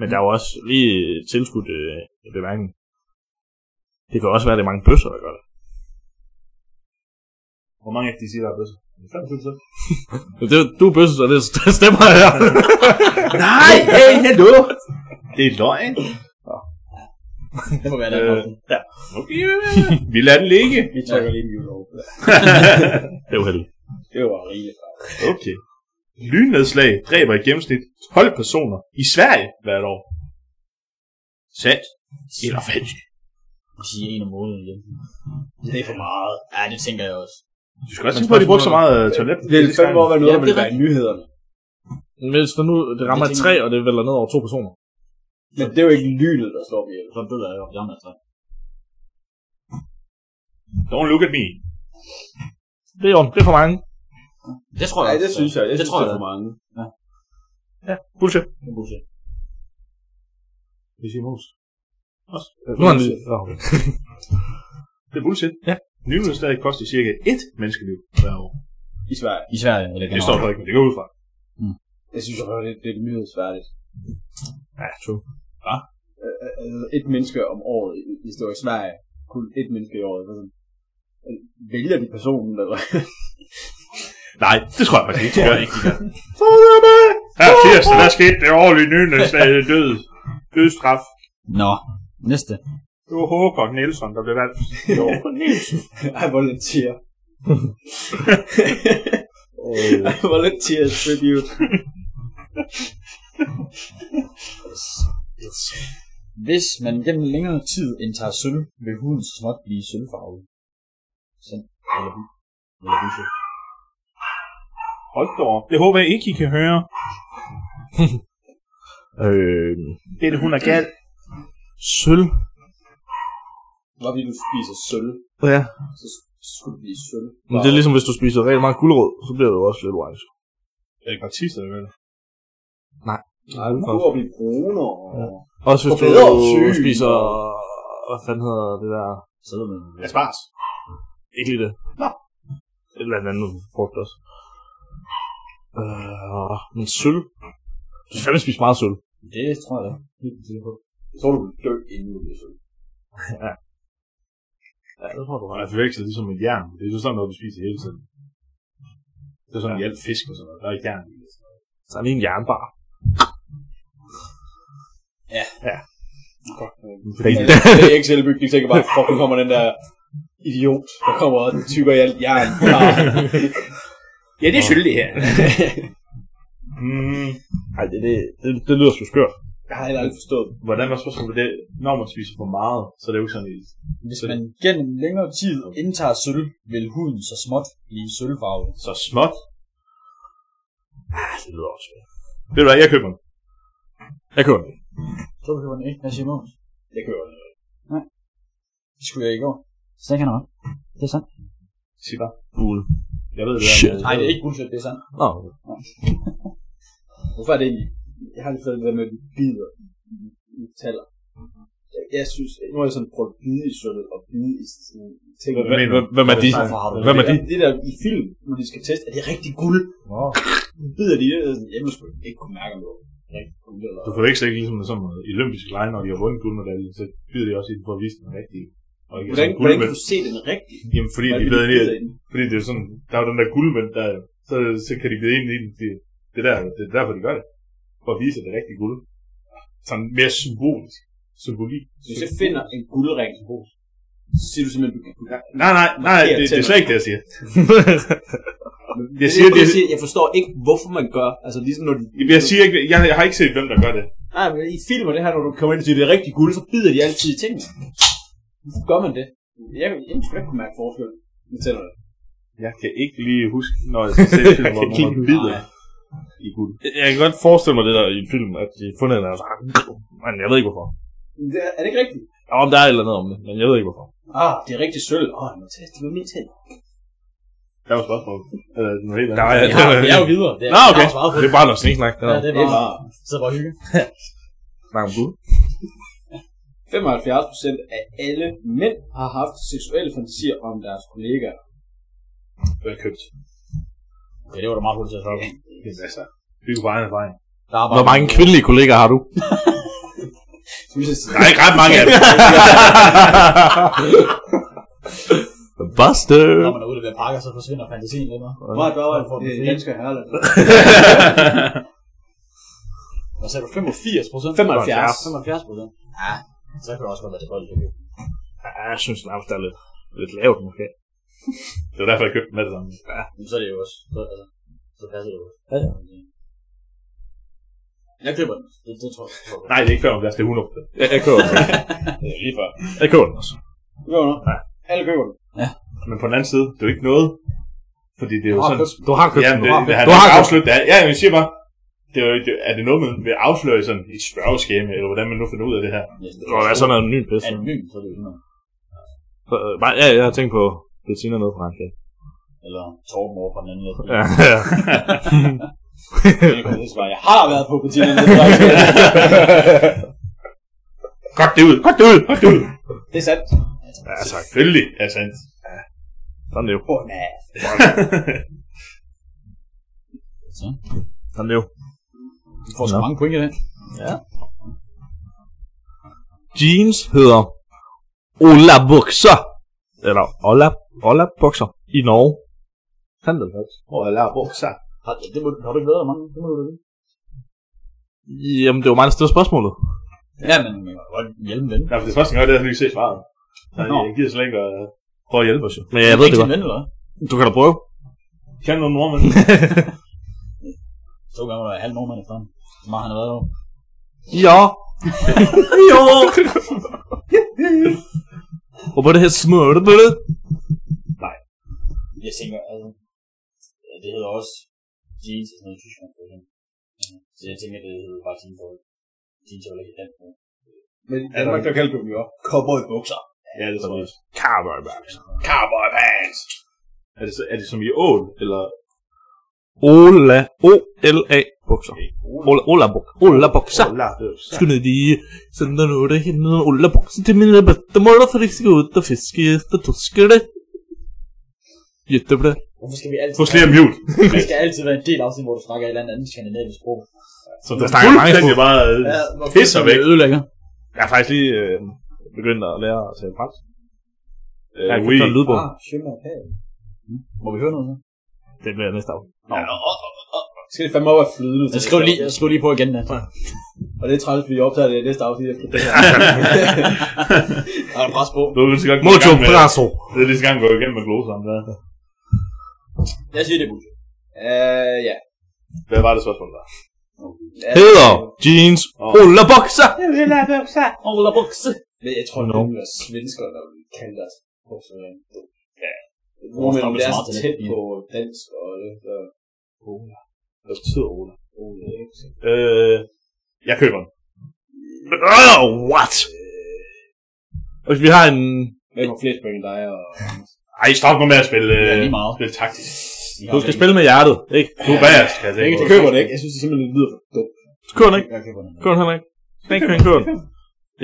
Speaker 5: Men der er jo også lige tilskudt øh, en bemærkning. Det kan også være, at det er mange bøsser, der gør det.
Speaker 1: Hvor mange af de siger, der er bøsser? 25 så.
Speaker 5: det du er bøsse, så det stemmer jeg.
Speaker 1: Nej, hey, hello! Det er løgn.
Speaker 2: Det må være det.
Speaker 1: Øh, ja. Okay, ja, ja, ja. Vi lader den ligge.
Speaker 3: Vi trykker lige mute over.
Speaker 5: det er uheldigt.
Speaker 3: Det var rigeligt.
Speaker 1: Okay. Lynnedslag dræber i gennemsnit 12 personer i Sverige hvert år. Sandt eller falsk?
Speaker 2: Vi siger en om måneden igen.
Speaker 3: Det er for meget.
Speaker 2: Ja, det tænker jeg også.
Speaker 1: Du skal også tænke på, at de brugte så meget øh, toilet.
Speaker 3: Det er fandme over, hvad noget,
Speaker 2: Ja,
Speaker 3: der
Speaker 2: det er
Speaker 3: ville være i nyhederne.
Speaker 5: Men Hvis der nu det rammer
Speaker 2: Det
Speaker 5: det
Speaker 2: tænker
Speaker 5: tre,
Speaker 2: jeg.
Speaker 5: og det vælger ned over to personer.
Speaker 3: Men det er jo ikke lynet, der slår mig ihjel.
Speaker 2: Så ved jeg jo, om jeg er
Speaker 1: Don't look at me.
Speaker 5: Det er, jo, det er for mange.
Speaker 2: Det tror jeg
Speaker 3: Nej, det
Speaker 2: også.
Speaker 3: synes jeg. Jeg
Speaker 2: det
Speaker 3: synes,
Speaker 2: tror
Speaker 3: det
Speaker 2: jeg
Speaker 3: er
Speaker 2: da.
Speaker 3: for mange.
Speaker 5: Bullshit.
Speaker 2: Det er bullshit.
Speaker 1: Vi siger mos.
Speaker 5: Nu er det... Nå, okay.
Speaker 1: Det er bullshit.
Speaker 5: Ja.
Speaker 1: Nyhedsdag koster cirka ét menneskeliv hver år.
Speaker 3: I Sverige.
Speaker 2: I Sverige, eller
Speaker 1: Det står der ikke, men det går ud fra.
Speaker 3: Jeg synes jo, det, det er nyhedsværdigt.
Speaker 5: Ja, true.
Speaker 3: Øh, øh, altså, et menneske om året, i- hvis det var i Sverige, kun et menneske i året. Sådan. Øh, Vælger de personen, eller hvad?
Speaker 1: Nej, det tror jeg faktisk ikke. Det gør ikke. Fodbold! Her tirsdag, der skete det årlige nyhedsdag død. Dødstraf.
Speaker 2: Nå, næste.
Speaker 1: Det var Håkon Nielsen, der blev valgt. Jo, Nielsen.
Speaker 3: Ej, hvor lidt tier. Ej, hvor lidt tier tribute.
Speaker 2: Hvis man gennem længere tid indtager sølv, vil huden så småt blive sølvfarvet. Sådan. Eller hvid. Eller bullshit.
Speaker 1: Hold da op. Det håber jeg ikke, I kan høre.
Speaker 5: Øh,
Speaker 1: Det er det, hun er gal.
Speaker 5: sølv.
Speaker 3: Når vi nu spiser sølv,
Speaker 5: Ja.
Speaker 3: så s- skulle det blive sølv.
Speaker 5: Men det er ligesom, hvis du spiser rigtig meget gulerod, så bliver det jo også lidt orange.
Speaker 1: Er det gratis, eller hvad?
Speaker 3: Nej, du prøver at blive brunere. Ja.
Speaker 5: Også hvis
Speaker 3: Og bedre
Speaker 5: du
Speaker 3: syn,
Speaker 5: spiser...
Speaker 3: og-
Speaker 5: Hvad fanden hedder det der?
Speaker 2: Sidder man.
Speaker 1: Ja, spars.
Speaker 5: Ikke lige det. Nå. Et eller andet frugt også. Øh, men sølv. Du skal fandme spise meget sølv.
Speaker 2: Det tror jeg da. Helt sikker på.
Speaker 3: Jeg tror, du vil dø, inden du bliver sød.
Speaker 5: Ja, det tror du
Speaker 1: Og jeg forveksler ligesom med jern. Det er jo sådan noget, du spiser hele tiden. Det er sådan, ja. alt fisk og sådan noget. Der er jern i det.
Speaker 5: Så er lige en jernbar.
Speaker 1: Fordi
Speaker 3: Det er ikke selvbygning, tænker bare, fuck, nu kommer den der idiot, der kommer og tykker i alt jern. ja, det er skyld, det her.
Speaker 1: mm,
Speaker 5: Ej, det, det, det, det lyder sgu skørt.
Speaker 3: Jeg har heller aldrig forstået. det.
Speaker 1: hvordan var spørgsmålet det? Når man spiser for meget, så er det jo ikke sådan, at-
Speaker 2: Hvis man gennem længere tid indtager sølv, vil huden så småt blive sølvfarvet.
Speaker 1: så småt. Ah,
Speaker 5: Ej, det lyder også skørt.
Speaker 1: Ved du hvad, jeg køber den.
Speaker 5: Jeg køber den.
Speaker 2: Så behøver den ikke. Hvad siger Måns?
Speaker 3: Jeg kører den.
Speaker 2: Det skulle jeg i går. Så kan han også. Det er sandt.
Speaker 1: Sig bare. Bull. Jeg ved det
Speaker 5: Shit.
Speaker 1: der med-
Speaker 2: Nej, det er ikke bullshit, det er sandt.
Speaker 5: Nå,
Speaker 3: Hvorfor er det egentlig? Jeg har lige fået det der med, at de bider i metaller. Jeg, jeg synes, at nu har jeg sådan prøvet at bide i sølv og bide i sådan ting.
Speaker 1: Hvad mener du?
Speaker 5: hvem er de?
Speaker 2: Hvorfor har du
Speaker 5: Hvem er de?
Speaker 3: Jamen, det der i film, når de skal teste, er det rigtig guld?
Speaker 2: Wow.
Speaker 3: Nu bider de i det, og sådan, jeg skulle ikke kunne mærke, om det var rigtig guld. Eller...
Speaker 1: Du forveksler ikke ligesom med sådan noget i olympiske lege, når de har vundet guldmedalje, så bider de også i den for at vise den rigtige. Og ikke sådan
Speaker 3: Hvordan, hvordan kan
Speaker 1: guldmedalje.
Speaker 3: du se den rigtig?
Speaker 1: Jamen, fordi de bedre ind i, at- fordi det er sådan, der er jo den der guldmænd, der, så, så kan de bide ind i den, fordi det er, der, det er derfor, de gør det. For at vise, at det er rigtig guld. Sådan mere symbolisk. Symbolik.
Speaker 3: Hvis jeg finder en guldring, så siger du simpelthen, du kan du kan-
Speaker 1: Nej, nej, nej,
Speaker 3: Markerer
Speaker 1: det, det er
Speaker 3: tænder.
Speaker 1: slet ikke det, jeg siger.
Speaker 3: Jeg,
Speaker 1: siger,
Speaker 3: siger, jeg,
Speaker 1: det-
Speaker 3: siger, jeg forstår ikke, hvorfor man gør. Altså ligesom når de...
Speaker 1: Jeg siger ikke, jeg, jeg har ikke set, hvem der gør det.
Speaker 3: Nej, men i film og det her, når du kommer ind og siger, det er rigtig guld, så bider de altid i tingene. Hvorfor gør man det? Jeg, jeg skulle ikke kunne mærke forskel. med tænderne.
Speaker 1: Jeg kan ikke lige huske, når jeg skal se film, hvor
Speaker 5: Jeg kan
Speaker 1: man
Speaker 5: ikke-
Speaker 1: bider i guld.
Speaker 5: Jeg kan godt forestille mig det der i en film, at de har fundet en altså, men jeg ved ikke hvorfor.
Speaker 3: Men det er, er det ikke rigtigt?
Speaker 5: Ja, om der er et eller andet om det, men jeg ved ikke hvorfor.
Speaker 3: Ah, det er rigtig sølv. Åh, oh, nu tester vi mine tænder.
Speaker 1: Der var spørgsmål. Eller noget helt andet.
Speaker 5: Der er-
Speaker 2: Jeg, har, jeg er jo videre. Det er,
Speaker 5: Nå, okay.
Speaker 2: Jeg har svaret på
Speaker 5: Det
Speaker 2: det.
Speaker 5: er bare noget sniksnak.
Speaker 2: Ja, det er
Speaker 3: Det er
Speaker 2: bare...
Speaker 3: bare
Speaker 2: Så bare hygge.
Speaker 5: Nej, om du.
Speaker 3: 75 procent af alle mænd har haft seksuelle fantasier om deres kollegaer.
Speaker 1: Velkøbt.
Speaker 2: Ja, det var da meget hurtigt til at svare på.
Speaker 1: Jamen, altså, bygge på egen erfaring.
Speaker 2: Der er bare...
Speaker 5: Hvor mange kvindelige kollegaer har du?
Speaker 3: Så vil jeg sige,
Speaker 1: Der er ikke ret mange af dem.
Speaker 5: Buster!
Speaker 2: Når man er ude ved pakker, så forsvinder fantasien lidt. hva'?
Speaker 3: Hvor er dobberen for
Speaker 2: for den
Speaker 3: den
Speaker 2: fri?
Speaker 3: danske herre?
Speaker 2: Hvad sagde du? 85 procent?
Speaker 3: 75.
Speaker 2: 75 procent? Ja, så kan det også godt være det er bolde.
Speaker 5: Ja, jeg synes nærmest, der er lidt, lidt lavt måske.
Speaker 1: Det var derfor, jeg købte dem med det samme.
Speaker 2: Men så er det jo også... Så, altså, så passer det jo også. Ja, ja. Jeg køber den. Det, det tror jeg. tror jeg.
Speaker 1: Nej, det er ikke 75, det er 100.
Speaker 5: Jeg, jeg køber den.
Speaker 1: Det er lige før.
Speaker 5: Jeg køber den også.
Speaker 3: Køber du? Ja. Alle køber den.
Speaker 1: Men på den anden side, det er jo ikke noget. Fordi det er jo
Speaker 5: Du har
Speaker 1: sådan...
Speaker 5: købt, du har købt
Speaker 1: Ja,
Speaker 5: den.
Speaker 1: det,
Speaker 5: Du har
Speaker 1: det,
Speaker 5: købt-
Speaker 1: han
Speaker 5: du har
Speaker 1: har
Speaker 5: købt
Speaker 1: afsløret det. Ja, jeg siger bare, det er, jo, det, er det noget, man vil afsløre i sådan et spørgeskema, eller hvordan man nu finder ud af det her?
Speaker 2: Yes,
Speaker 5: Det var sådan noget ny pisse.
Speaker 2: Anonym, så er det jo sådan noget.
Speaker 5: Så, øh, bare- Ja, jeg har tænkt på Bettina nede fra Frankrig.
Speaker 2: Eller Torben over fra den anden.
Speaker 5: Ja,
Speaker 2: Ja.
Speaker 5: ja.
Speaker 3: Jeg, det svar. jeg har været på partierne.
Speaker 1: Godt det ud, godt det ud, godt det ud.
Speaker 3: Det er sandt.
Speaker 5: ja tak.
Speaker 1: Selvfølgelig er sandt.
Speaker 5: Sådan er det jo.
Speaker 3: Åh, nej.
Speaker 2: Så.
Speaker 5: Sådan er det jo.
Speaker 2: Du får så
Speaker 5: Nå.
Speaker 2: mange point i dag.
Speaker 5: Jeans hedder Ola Bukser. Eller Ola, Ola Bukser i Norge. Sandt eller falsk?
Speaker 1: Hvor er lavet bukser?
Speaker 2: Har, det må, har du ikke været der mange? Det må du da vide.
Speaker 5: Jamen, det var mig, der stillede spørgsmålet.
Speaker 2: Ja, men man kan godt hjælpe en ven.
Speaker 1: Nej, for det er første gang, det er, at jeg lige ser svaret. Nej,
Speaker 2: Nå.
Speaker 1: jeg gider slet ikke at prøve at hjælpe os. jo.
Speaker 5: Men jeg ved det
Speaker 2: Ikke
Speaker 5: godt.
Speaker 2: din ven, eller hvad?
Speaker 5: Du kan da prøve.
Speaker 1: Kan nogle nordmænd?
Speaker 2: To gange var der halv nordmand efterhånden. Hvor meget han har været der.
Speaker 5: Ja. ja. Og på det her smørtebølle.
Speaker 2: Jeg tænker, altså... ja, Det hedder også jeans og sådan noget i Tyskland, for eksempel. Mhm. Så jeg tænker, det hedder bare jeans for Jeans er jo ikke et dansk ord.
Speaker 3: Men i Danmark, der kaldte du dem jo cowboy bukser.
Speaker 1: Ja, det tror jeg.
Speaker 5: Cowboy bags.
Speaker 1: Cowboy pants! Er det, så, er det som i ål, eller
Speaker 5: Ola, O-L-A, bukser. Ola, Ola, buk, Ola, bukser. Skulle ni lige sende nu det hende en Ola, bukser till mina bättemålar för att de ska ut och fiska efter torskar det. Jättebra.
Speaker 2: Hvorfor skal vi altid...
Speaker 1: Få slet mute.
Speaker 2: Vi skal altid være en del afsnit, hvor du snakker et eller andet andet skandinavisk sprog.
Speaker 1: Så der
Speaker 5: snakker mange
Speaker 1: fuldstændig bare
Speaker 2: Ja,
Speaker 1: ja,
Speaker 2: hvor
Speaker 1: pisser væk.
Speaker 5: Ødelægger. Jeg har faktisk lige øh, begyndt at lære at tale fransk. Jeg
Speaker 1: Ja,
Speaker 5: har
Speaker 1: Øh, oui.
Speaker 5: købt en lydbog.
Speaker 2: Ah, Sjømme og Pæl. Må vi høre noget nu?
Speaker 5: Det bliver næste af.
Speaker 3: Skal det fandme op være flydende?
Speaker 2: Jeg skriver lige, jeg skriver lige på igen, da.
Speaker 3: Og det er træls, fordi jeg optager det i næste afsnit efter det her.
Speaker 2: Jeg har pres på.
Speaker 1: Du er lige så godt
Speaker 5: Mojo Brasso.
Speaker 1: Det er lige så gang gået igennem med gloseren der.
Speaker 2: Jeg siger det, Bush.
Speaker 3: Øh, ja.
Speaker 1: Hvad var det spørgsmål der?
Speaker 5: Hedder jeans. Ola, bukser.
Speaker 2: Åh, la bukse.
Speaker 3: Men jeg tror,
Speaker 5: Nå.
Speaker 3: no. det er svensker, der vil kalde deres bukser. Ja.
Speaker 2: Vores
Speaker 3: Nordmænd
Speaker 2: der
Speaker 3: er
Speaker 2: er
Speaker 3: så
Speaker 2: smart,
Speaker 3: tæt
Speaker 2: det er.
Speaker 3: på dansk og det, så...
Speaker 1: Hvad betyder Ola?
Speaker 3: Ola, ikke?
Speaker 1: Øh, jeg køber den.
Speaker 5: Oh, what? Og vi har en...
Speaker 3: Hvem har flest point, dig og...
Speaker 1: Ej, stop nu med at spille,
Speaker 2: Ja,
Speaker 1: øh,
Speaker 2: lige meget.
Speaker 1: spille taktisk.
Speaker 5: Du skal spille med hjertet, ikke?
Speaker 1: Du er bagerst, kan jeg tænke.
Speaker 3: Jeg køber det ikke. Jeg synes, det simpelthen lyder for dumt.
Speaker 5: Kør den ikke.
Speaker 3: Jeg køber det.
Speaker 5: Kør den heller ikke. Snake, kør den, kør den.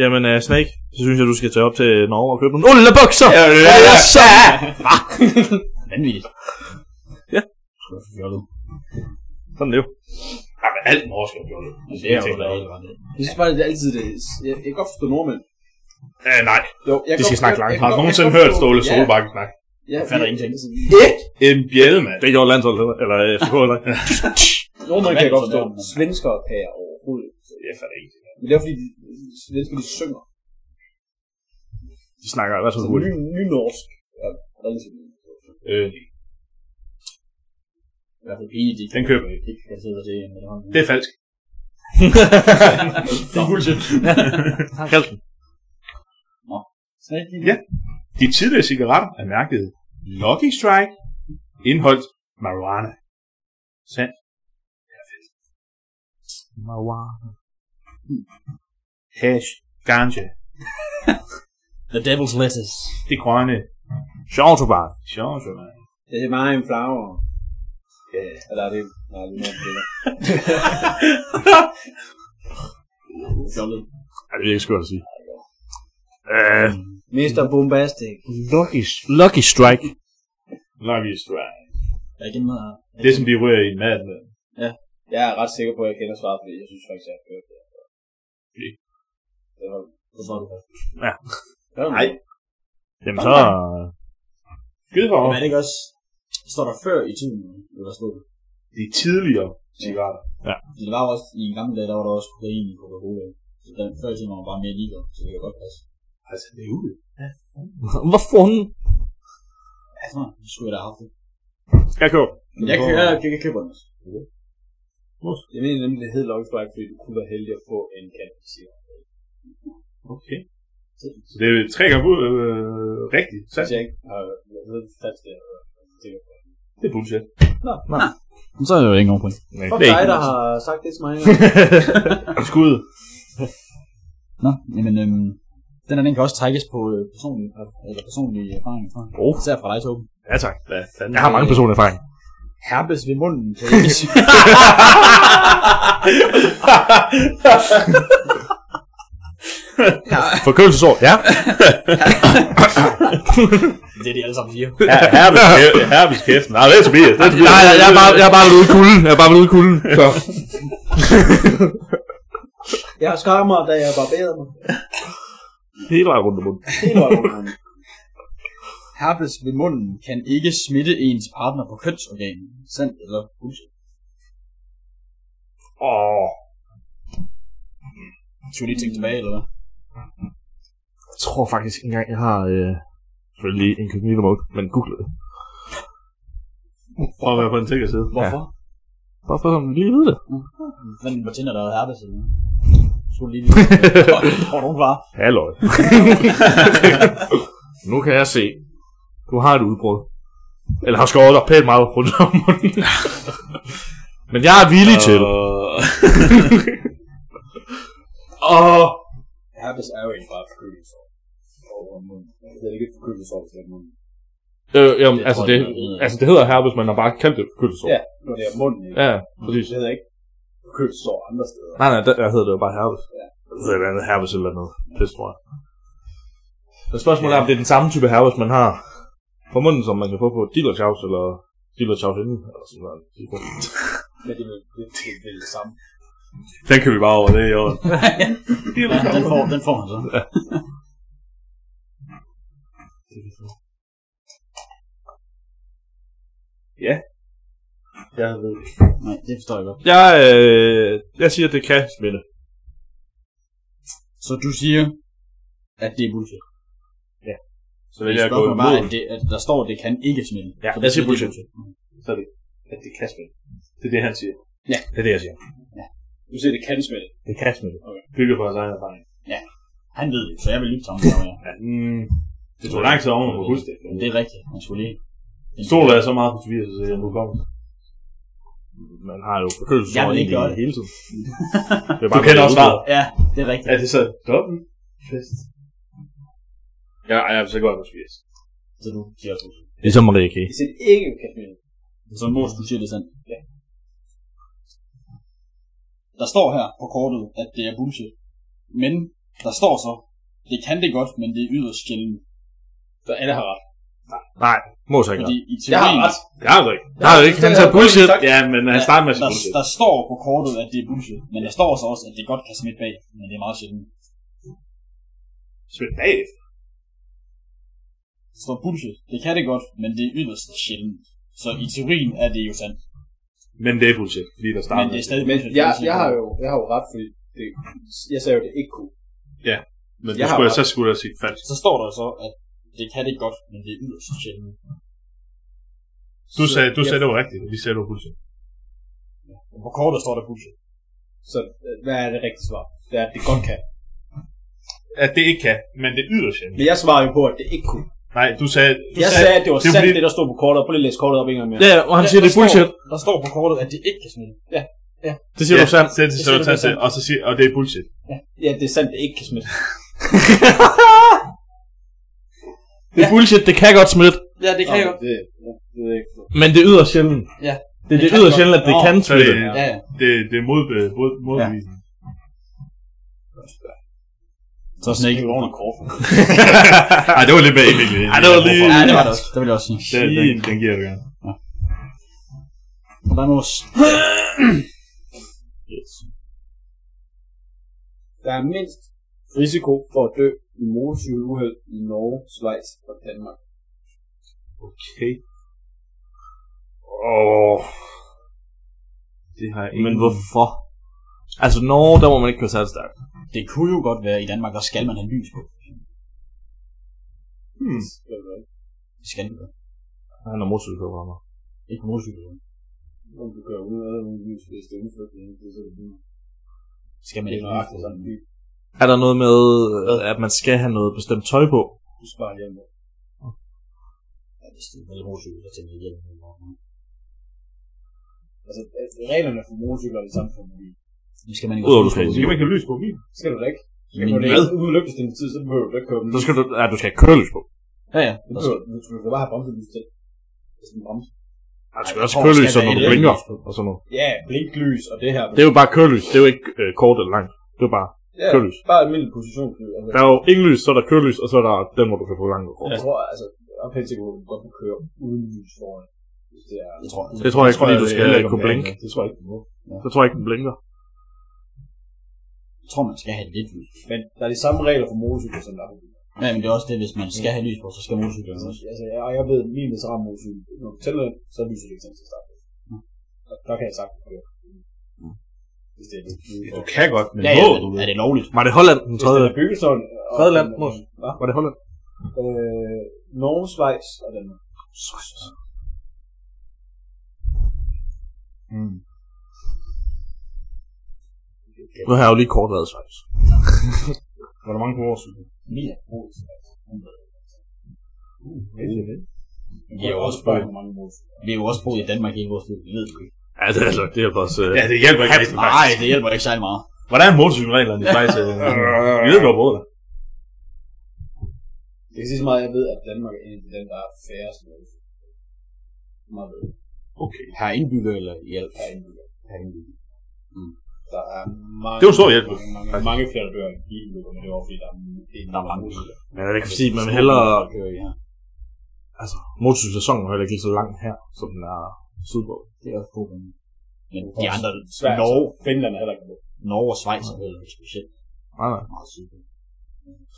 Speaker 5: Jamen, uh, Snake, så synes jeg, du skal tage op til Norge og købe nogle ulle bukser. Ja, ja, ja. Så.
Speaker 2: Vanvittigt.
Speaker 5: Ja.
Speaker 2: Det var fjollet.
Speaker 5: Sådan er det jo.
Speaker 1: Nej, men alt norsk er fjollet.
Speaker 2: Det er jo været helt ret.
Speaker 3: Jeg synes bare, det er altid det. Jeg, jeg kan godt forstå nordmænd.
Speaker 1: Øh, nej.
Speaker 3: Jo, jeg
Speaker 5: De
Speaker 3: kan
Speaker 5: skal
Speaker 3: godt-
Speaker 5: snakke
Speaker 3: jeg-
Speaker 5: langt.
Speaker 3: jeg kan
Speaker 1: Har du
Speaker 3: godt-
Speaker 1: nogensinde
Speaker 3: jeg kan
Speaker 1: hørt
Speaker 3: godt
Speaker 1: Ståle
Speaker 3: forstå-
Speaker 1: Solbakken snakke?
Speaker 3: Ja,
Speaker 2: Jeg fatter
Speaker 3: fordi-
Speaker 2: ingenting.
Speaker 3: Ikke?
Speaker 1: En bjælle, mand.
Speaker 5: Det gjorde landsholdet, heller- eller øh, FCK, eller
Speaker 3: Nordmænd kan jeg godt forstå.
Speaker 2: Sådan er det.
Speaker 3: Svensker kan jeg overhovedet. ikke forstå.
Speaker 1: Jeg fatter ikke.
Speaker 3: Men det er fordi, de, svensker, de synger.
Speaker 5: De snakker i hvert
Speaker 3: Så
Speaker 5: fald
Speaker 3: ny,
Speaker 5: hurtigt.
Speaker 3: ny norsk er relativt ny.
Speaker 1: Øh,
Speaker 2: I hvert fald enig, de
Speaker 1: den køber jeg ikke.
Speaker 2: ikke kan sidde og se en eller anden.
Speaker 1: Det er falsk.
Speaker 2: Det er bullshit.
Speaker 5: Kald den.
Speaker 1: Ja. De tidligere cigaretter er mærket Lucky Strike, indholdt marijuana. Sandt. Hash, ganja,
Speaker 2: The Devil's Lettuce.
Speaker 1: det grønne,
Speaker 5: Sjov tobak.
Speaker 1: sjovt, man.
Speaker 3: Det er bare en flower. Ja, eller er det... Nej, det er noget, det er.
Speaker 2: Fjollet.
Speaker 5: Ja, det virker skørt at sige. Øh,
Speaker 3: Mr. Bombastic.
Speaker 5: Lucky, Lucky Strike.
Speaker 1: Øh, Lucky Strike.
Speaker 2: Jeg er igennem her.
Speaker 1: Det, som de rører i maden med.
Speaker 3: Jeg er ret sikker på, at jeg kender svaret, fordi jeg synes faktisk, jeg har hørt det.
Speaker 1: Okay.
Speaker 3: Det var...
Speaker 2: Det var det.
Speaker 3: Det var
Speaker 1: Nej.
Speaker 5: Jamen så...
Speaker 1: Skyd for
Speaker 2: Men er det ikke også... Står der før i tiden, eller stod det?
Speaker 1: De tidligere cigaretter.
Speaker 2: Fordi det var jo også, i en gamle dag, der var der også kokain i Coca-Cola. Så den før i tiden var man bare mere ligeglad, så det kan godt passe.
Speaker 1: Altså, det er ude.
Speaker 5: Hvad fanden?
Speaker 2: Altså, nu skulle jeg da have haft det.
Speaker 5: Jeg køber.
Speaker 2: Men jeg, kø- jeg, jeg, jeg køber den også.
Speaker 3: Jeg mener nemlig, det hed Lucky Strike, fordi du kunne være heldig at få en cannabis.
Speaker 1: Okay. Så det er tre gange ud, øh, rigtigt. Sandt.
Speaker 3: Hvis jeg ikke har hørt det fast, det er sikker på.
Speaker 1: Det er bullshit.
Speaker 2: Men så er det jo ikke nogen point.
Speaker 5: Nej,
Speaker 3: Fuck
Speaker 5: det er
Speaker 3: dig,
Speaker 5: ikke
Speaker 3: der har sagt det til mig.
Speaker 1: Skud.
Speaker 2: Nå, jamen, øhm, den her, den kan også trækkes på øh, personlig, eller personlig erfaring, tror jeg.
Speaker 5: Oh.
Speaker 2: Især fra dig, Torben.
Speaker 5: Ja tak.
Speaker 1: Hvad fanden?
Speaker 5: Jeg har mange personlige erfaringer.
Speaker 2: Herpes ved munden. kan jeg ikke sige.
Speaker 5: Forkølelsesår, ja.
Speaker 2: det er det, alle sammen siger.
Speaker 1: Ja, herpes, kæft- herpes kæften. Nej, det er Tobias. Det er Tobias.
Speaker 5: Nej, jeg, jeg, er bare, jeg er bare ude i kulden. Jeg er bare ude i kulden. Så.
Speaker 3: Jeg har skammer, da jeg barberede mig.
Speaker 5: Hele vejen rundt om munden.
Speaker 3: Det var jo-
Speaker 2: Herpes ved munden kan ikke smitte ens partner på kønsorganet. Sandt eller bullshit.
Speaker 5: Åh.
Speaker 2: Skal vi lige tænke tilbage, eller hvad?
Speaker 5: Jeg tror faktisk ikke engang, jeg har... Øh, selvfølgelig en kognito mode, men google det.
Speaker 1: Prøv at være på den sikre side.
Speaker 2: Hvorfor?
Speaker 5: Bare for sådan lige vide det.
Speaker 2: Ja. Fanden på Tinder, der havde herpes eller noget. Skulle lige lige. Tror du, hun var?
Speaker 5: Halløj. nu kan jeg se. Du har et udbrud. Eller har skåret dig pænt meget rundt om munden. men jeg er villig til. Åh.
Speaker 3: Herpes er jo egentlig bare forkølelsesår. Over munden. Det er ikke et forkølelsesår, hvis det er munden.
Speaker 5: Øh, jamen, altså,
Speaker 2: tror
Speaker 5: det,
Speaker 2: jeg, det er-
Speaker 5: altså, det hedder herpes, man har bare kaldt det forkølelsesår.
Speaker 3: Ja. Når det er munden, ikke?
Speaker 5: Ja, præcis.
Speaker 3: Det hedder ikke kødsår andre steder.
Speaker 5: Nej, nej, der, der hedder det jo bare herpes. Det hedder et eller andet herpes eller noget. Det tror jeg. Men spørgsmålet er, om det er den samme type herpes, man har på munden, som man kan få på Dillerchaus eller Dillerchaus inden, eller sådan noget.
Speaker 3: Men det vil det, det, vil det samme.
Speaker 5: Den kan vi bare over det i år.
Speaker 2: Ja, den får, den får han så.
Speaker 1: Jeg ved ikke.
Speaker 2: Nej, det forstår jeg godt.
Speaker 5: Jeg, øh, jeg siger, at det kan smitte.
Speaker 2: Så du siger, at det er bullshit.
Speaker 5: Så vil jeg gå
Speaker 2: Spørgsmålet er bare,
Speaker 5: imod.
Speaker 2: at, det, at der står, at det kan ikke smitte.
Speaker 5: Ja,
Speaker 2: Så
Speaker 5: jeg
Speaker 2: det
Speaker 5: siger
Speaker 2: er
Speaker 5: bullshit.
Speaker 1: Så er det, at det kan spille. Det er det, han siger.
Speaker 5: Det er det, jeg siger.
Speaker 3: Du siger, det kan smitte.
Speaker 5: Det kan smitte.
Speaker 1: Bygger på hans egen erfaring.
Speaker 2: Han ved det, så jeg vil lytte til ham. der var jeg.
Speaker 1: Mm. Det tog lang tid om at kunne huske det.
Speaker 2: Men det er rigtigt. Han skulle lige...
Speaker 1: Solen er så meget forvirret, så jeg nu kommer.
Speaker 5: Man har jo forkølelsesår
Speaker 2: Jeg vil ikke
Speaker 5: egentlig
Speaker 2: gøre det.
Speaker 5: hele tiden. Det er
Speaker 1: Du kender
Speaker 5: noget,
Speaker 1: også
Speaker 5: jeg
Speaker 1: svaret.
Speaker 2: Ja, det er rigtigt.
Speaker 1: Er det så dobbelt fest? Ja, jeg er så godt på spids.
Speaker 2: Så du siger også bullshit.
Speaker 5: udgår. Det er som Marie K.
Speaker 3: Hvis det ikke kan smitte,
Speaker 2: Så Mås, du siger det er sandt. Ja. Der står her på kortet, at det er bullshit. Men der står så, det kan det godt, men det er yderst sjældent.
Speaker 3: så alle har ret.
Speaker 5: Nej, må så ikke.
Speaker 2: Fordi i
Speaker 3: Jeg har
Speaker 2: teorien,
Speaker 3: ret.
Speaker 1: Det har du ikke.
Speaker 5: Nej, det er ikke. Han tager bullshit.
Speaker 1: Ja, men han starter med at sige
Speaker 2: der,
Speaker 1: bullshit.
Speaker 2: der står på kortet, at det er bullshit. Men der står så også, at det godt kan smitte bag, men det er meget sjældent.
Speaker 1: Smidt bagefter.
Speaker 2: Der står bullshit. Det kan det godt, men det er yderst sjældent. Så i teorien er det jo sandt.
Speaker 1: Men det er bullshit, fordi der starter
Speaker 2: Men det er stadig bullshit.
Speaker 3: Jeg,
Speaker 2: fordi-
Speaker 3: jeg, har jo, jeg har jo ret, fordi det, jeg sagde jo, det ikke kunne.
Speaker 1: Men
Speaker 3: Jeg
Speaker 1: jeg
Speaker 3: har
Speaker 1: skulle,
Speaker 3: ret.
Speaker 1: så skulle jeg sige falsk.
Speaker 2: Så står der så, at det kan det godt, men det er yderst sjældent.
Speaker 1: Du sagde, du
Speaker 3: jeg-
Speaker 1: sagde det var rigtigt, og vi sagde det var bullshit.
Speaker 2: Og på kortet står der bullshit.
Speaker 3: Så øh, hvad er det rigtige svar? Det er, at det godt kan.
Speaker 1: At det ikke kan, men det yder sjældent.
Speaker 3: Men jeg svarer jo på, at det ikke kunne.
Speaker 1: Nej, du sagde... Du
Speaker 3: Jeg sagde, at det var
Speaker 1: det er
Speaker 3: sandt,
Speaker 1: fordi-
Speaker 3: det der stod på kortet. Prøv lige at læse kortet op en gang mere.
Speaker 5: Ja, og han siger, det er bullshit.
Speaker 2: Står, der står på kortet, at det ikke kan smitte. Ja.
Speaker 5: Det siger
Speaker 1: ja,
Speaker 5: du sandt.
Speaker 1: Så det,
Speaker 2: Det
Speaker 1: så
Speaker 2: siger
Speaker 1: du
Speaker 2: du
Speaker 1: sandt,
Speaker 2: sandt.
Speaker 1: og så siger, og det er bullshit.
Speaker 3: Ja, det er sandt, det ikke kan smitte.
Speaker 5: Det er bullshit, det kan godt smitte,
Speaker 2: Ja, det
Speaker 3: Nå, Det, det, det er ikke
Speaker 5: men det yder sjældent.
Speaker 2: Ja.
Speaker 5: Det er det,
Speaker 2: Det kan
Speaker 5: yder
Speaker 2: godt.
Speaker 5: sjældent, at det
Speaker 2: Nå,
Speaker 5: kan
Speaker 1: Så det,
Speaker 5: smitte.
Speaker 2: Ja, ja.
Speaker 1: det, det er mod, mod, modbevisende.
Speaker 2: Så sådan ikke ordentligt kort.
Speaker 1: Ej, det var lidt mere Emil.
Speaker 5: Ej, det var lige-
Speaker 2: Ja, det var det også. Det vil jeg også sige.
Speaker 1: Den, den, den giver jeg gerne.
Speaker 2: Der er mos.
Speaker 3: Der er mindst risiko for at dø i motorcykeluheld i Norge, Schweiz og Danmark.
Speaker 1: Okay. Åh. Det har jeg ikke.
Speaker 5: Men hvorfor? Altså, Norge, der må man ikke køre særlig stærkt.
Speaker 2: Det kunne jo godt være i Danmark, der skal man have lys på.
Speaker 1: Hmm.
Speaker 2: Det skal det.
Speaker 5: Han er motorcykelkører for mig.
Speaker 2: Ikke på motorcykel.
Speaker 3: Om du kører uden ad, uden lys, hvis det er indført, det er sådan, det
Speaker 2: Skal man
Speaker 3: er
Speaker 2: ikke
Speaker 3: nøjagtigt sådan,
Speaker 2: have
Speaker 3: vi
Speaker 5: Er der noget med, øh, at man skal have noget bestemt tøj på?
Speaker 3: du sparer hjemme.
Speaker 2: Ja, hvis det er med motorcykel, så tænker jeg hjem.
Speaker 3: Altså, at reglerne for motorcykler er det samme for bil.
Speaker 2: Det skal man ikke
Speaker 5: Udover, du skal
Speaker 2: også-
Speaker 1: Skal man ikke have lys på min?
Speaker 3: Skal du da ikke? Skal
Speaker 2: Men
Speaker 3: du da
Speaker 2: hvad?
Speaker 3: ikke uden lygtes din tid, så behøver du da ikke køre dem.
Speaker 5: Så skal du, ja, du skal have kørelys på.
Speaker 2: Ja, ja.
Speaker 3: Du ligesom behøver, du skal bare have bremselys til. Hvis den bremser.
Speaker 5: Ja, du Altså, skal
Speaker 2: Ej,
Speaker 5: også
Speaker 2: hvor
Speaker 5: kørelys,
Speaker 2: skal
Speaker 5: så
Speaker 2: der
Speaker 5: når du
Speaker 2: et eller
Speaker 5: blinker
Speaker 2: andet lys på?
Speaker 5: og sådan noget.
Speaker 3: Ja, blinklys og det her.
Speaker 5: Det er jo bare kørelys, det er jo ikke øh, kort eller langt. Det er jo bare,
Speaker 3: ja,
Speaker 5: kørelys.
Speaker 3: Bare almindelig positionslys. Altså,
Speaker 5: der er jo ingen lys, så er der kørelys, og så er der den, hvor du kan få langt og kort.
Speaker 3: Jeg tror, altså, op helt sikkert, du godt kan køre uden lys foran. Hvis det er...
Speaker 2: Det tror jeg.
Speaker 5: Det tror jeg ikke, fordi du
Speaker 1: det
Speaker 5: skal
Speaker 1: heller
Speaker 5: kunne
Speaker 1: om
Speaker 5: blinke.
Speaker 1: dagen, Det tror jeg ikke, du må.
Speaker 5: Så tror jeg ikke, den blinker.
Speaker 2: Jeg tror, man skal have lidt lys.
Speaker 3: Men der er de samme regler for motorcykler, som der er for biler.
Speaker 2: Ja, men det er også det, hvis man skal have lys på, så skal motorcyklen også.
Speaker 3: Altså, jeg, og jeg ved, at min veteran motorcykel, når du tæller, den, så lyser det ikke sådan til start. Og der kan jeg sagtens køre. Hvis det er det.
Speaker 1: Du kan godt, men
Speaker 2: Ja, ja,
Speaker 1: må
Speaker 2: men
Speaker 1: du?
Speaker 2: er det lovligt?
Speaker 5: Var det Holland den
Speaker 3: Hvis
Speaker 5: tredje?
Speaker 3: den er bygget sådan... og-
Speaker 5: Tredje land,
Speaker 3: og-
Speaker 5: Mos.
Speaker 3: Hvad?
Speaker 5: Var det Holland?
Speaker 3: Øh, Norge, Schweiz og Danmark.
Speaker 5: Nu har jeg jo lige kort været i Schweiz.
Speaker 1: Var der mange på vores cykel?
Speaker 2: Mia. Vi
Speaker 3: Jeg
Speaker 2: er jo også
Speaker 3: også
Speaker 2: på
Speaker 3: bare mange motorcykler.
Speaker 2: Vi har jo også boet i Danmark i vores liv, det ved du ikke.
Speaker 5: Ja, det er altså, det er også... Øh,
Speaker 1: Ja, det hjælper ikke rigtig
Speaker 2: Nej, det hjælper ikke særlig meget.
Speaker 1: Hvordan er motorcykelreglerne i Schweiz? øh, Vi ved godt, hvor det er.
Speaker 3: Jeg kan sige så meget, at jeg ved, at Danmark er en af de lande, der er færrest med. Meget ved.
Speaker 1: Okay.
Speaker 2: Per indbygger eller i alt?
Speaker 3: Per indbygger. Per indbygger. Mm. Der er mange,
Speaker 1: Det er jo stor hjælp, jo.
Speaker 3: mange, mange, mange flere, der dør end bilulykker, men det er også fordi, der er, det er, der er mange ulykker.
Speaker 5: Men jeg kan sige, man vil hellere...
Speaker 2: Der kører i her.
Speaker 5: Altså, motorsæsonen er heller ikke lige så lang her, som den er sydpå.
Speaker 2: Det er også god grund. Men de andre,
Speaker 3: Sverige,
Speaker 2: Norge,
Speaker 3: Finland er heller ikke med.
Speaker 2: Norge og Schweiz er heller ikke specielt
Speaker 5: Nej, nej.
Speaker 2: meget syd.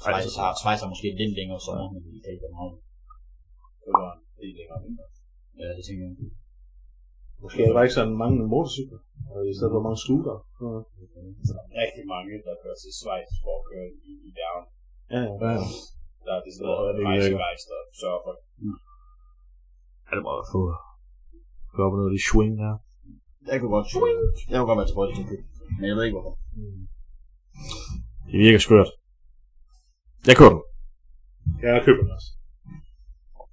Speaker 2: Schweiz har, Schweiz har måske lidt længere sommer, men i dag er meget.
Speaker 3: Det var en del længere vinter.
Speaker 2: Ja, det tænker jeg.
Speaker 5: Måske er der bare ikke sådan mange motorcykler, og i stedet for mange scooter.
Speaker 3: Så der er rigtig mange, der kører til Schweiz for at køre i, i bjergene.
Speaker 5: Ja, ja. ja.
Speaker 3: Der er det sådan
Speaker 5: Hvor er det
Speaker 3: noget rejsevejs, der sørger for.
Speaker 5: Ja, det må være fedt. Gå op og ned af de swing der.
Speaker 2: Jeg kunne godt, jeg kunne godt være tilbøjelig til det. Men jeg ved ikke hvorfor.
Speaker 5: Det virker skørt. Jeg køber den.
Speaker 1: Jeg køber den også.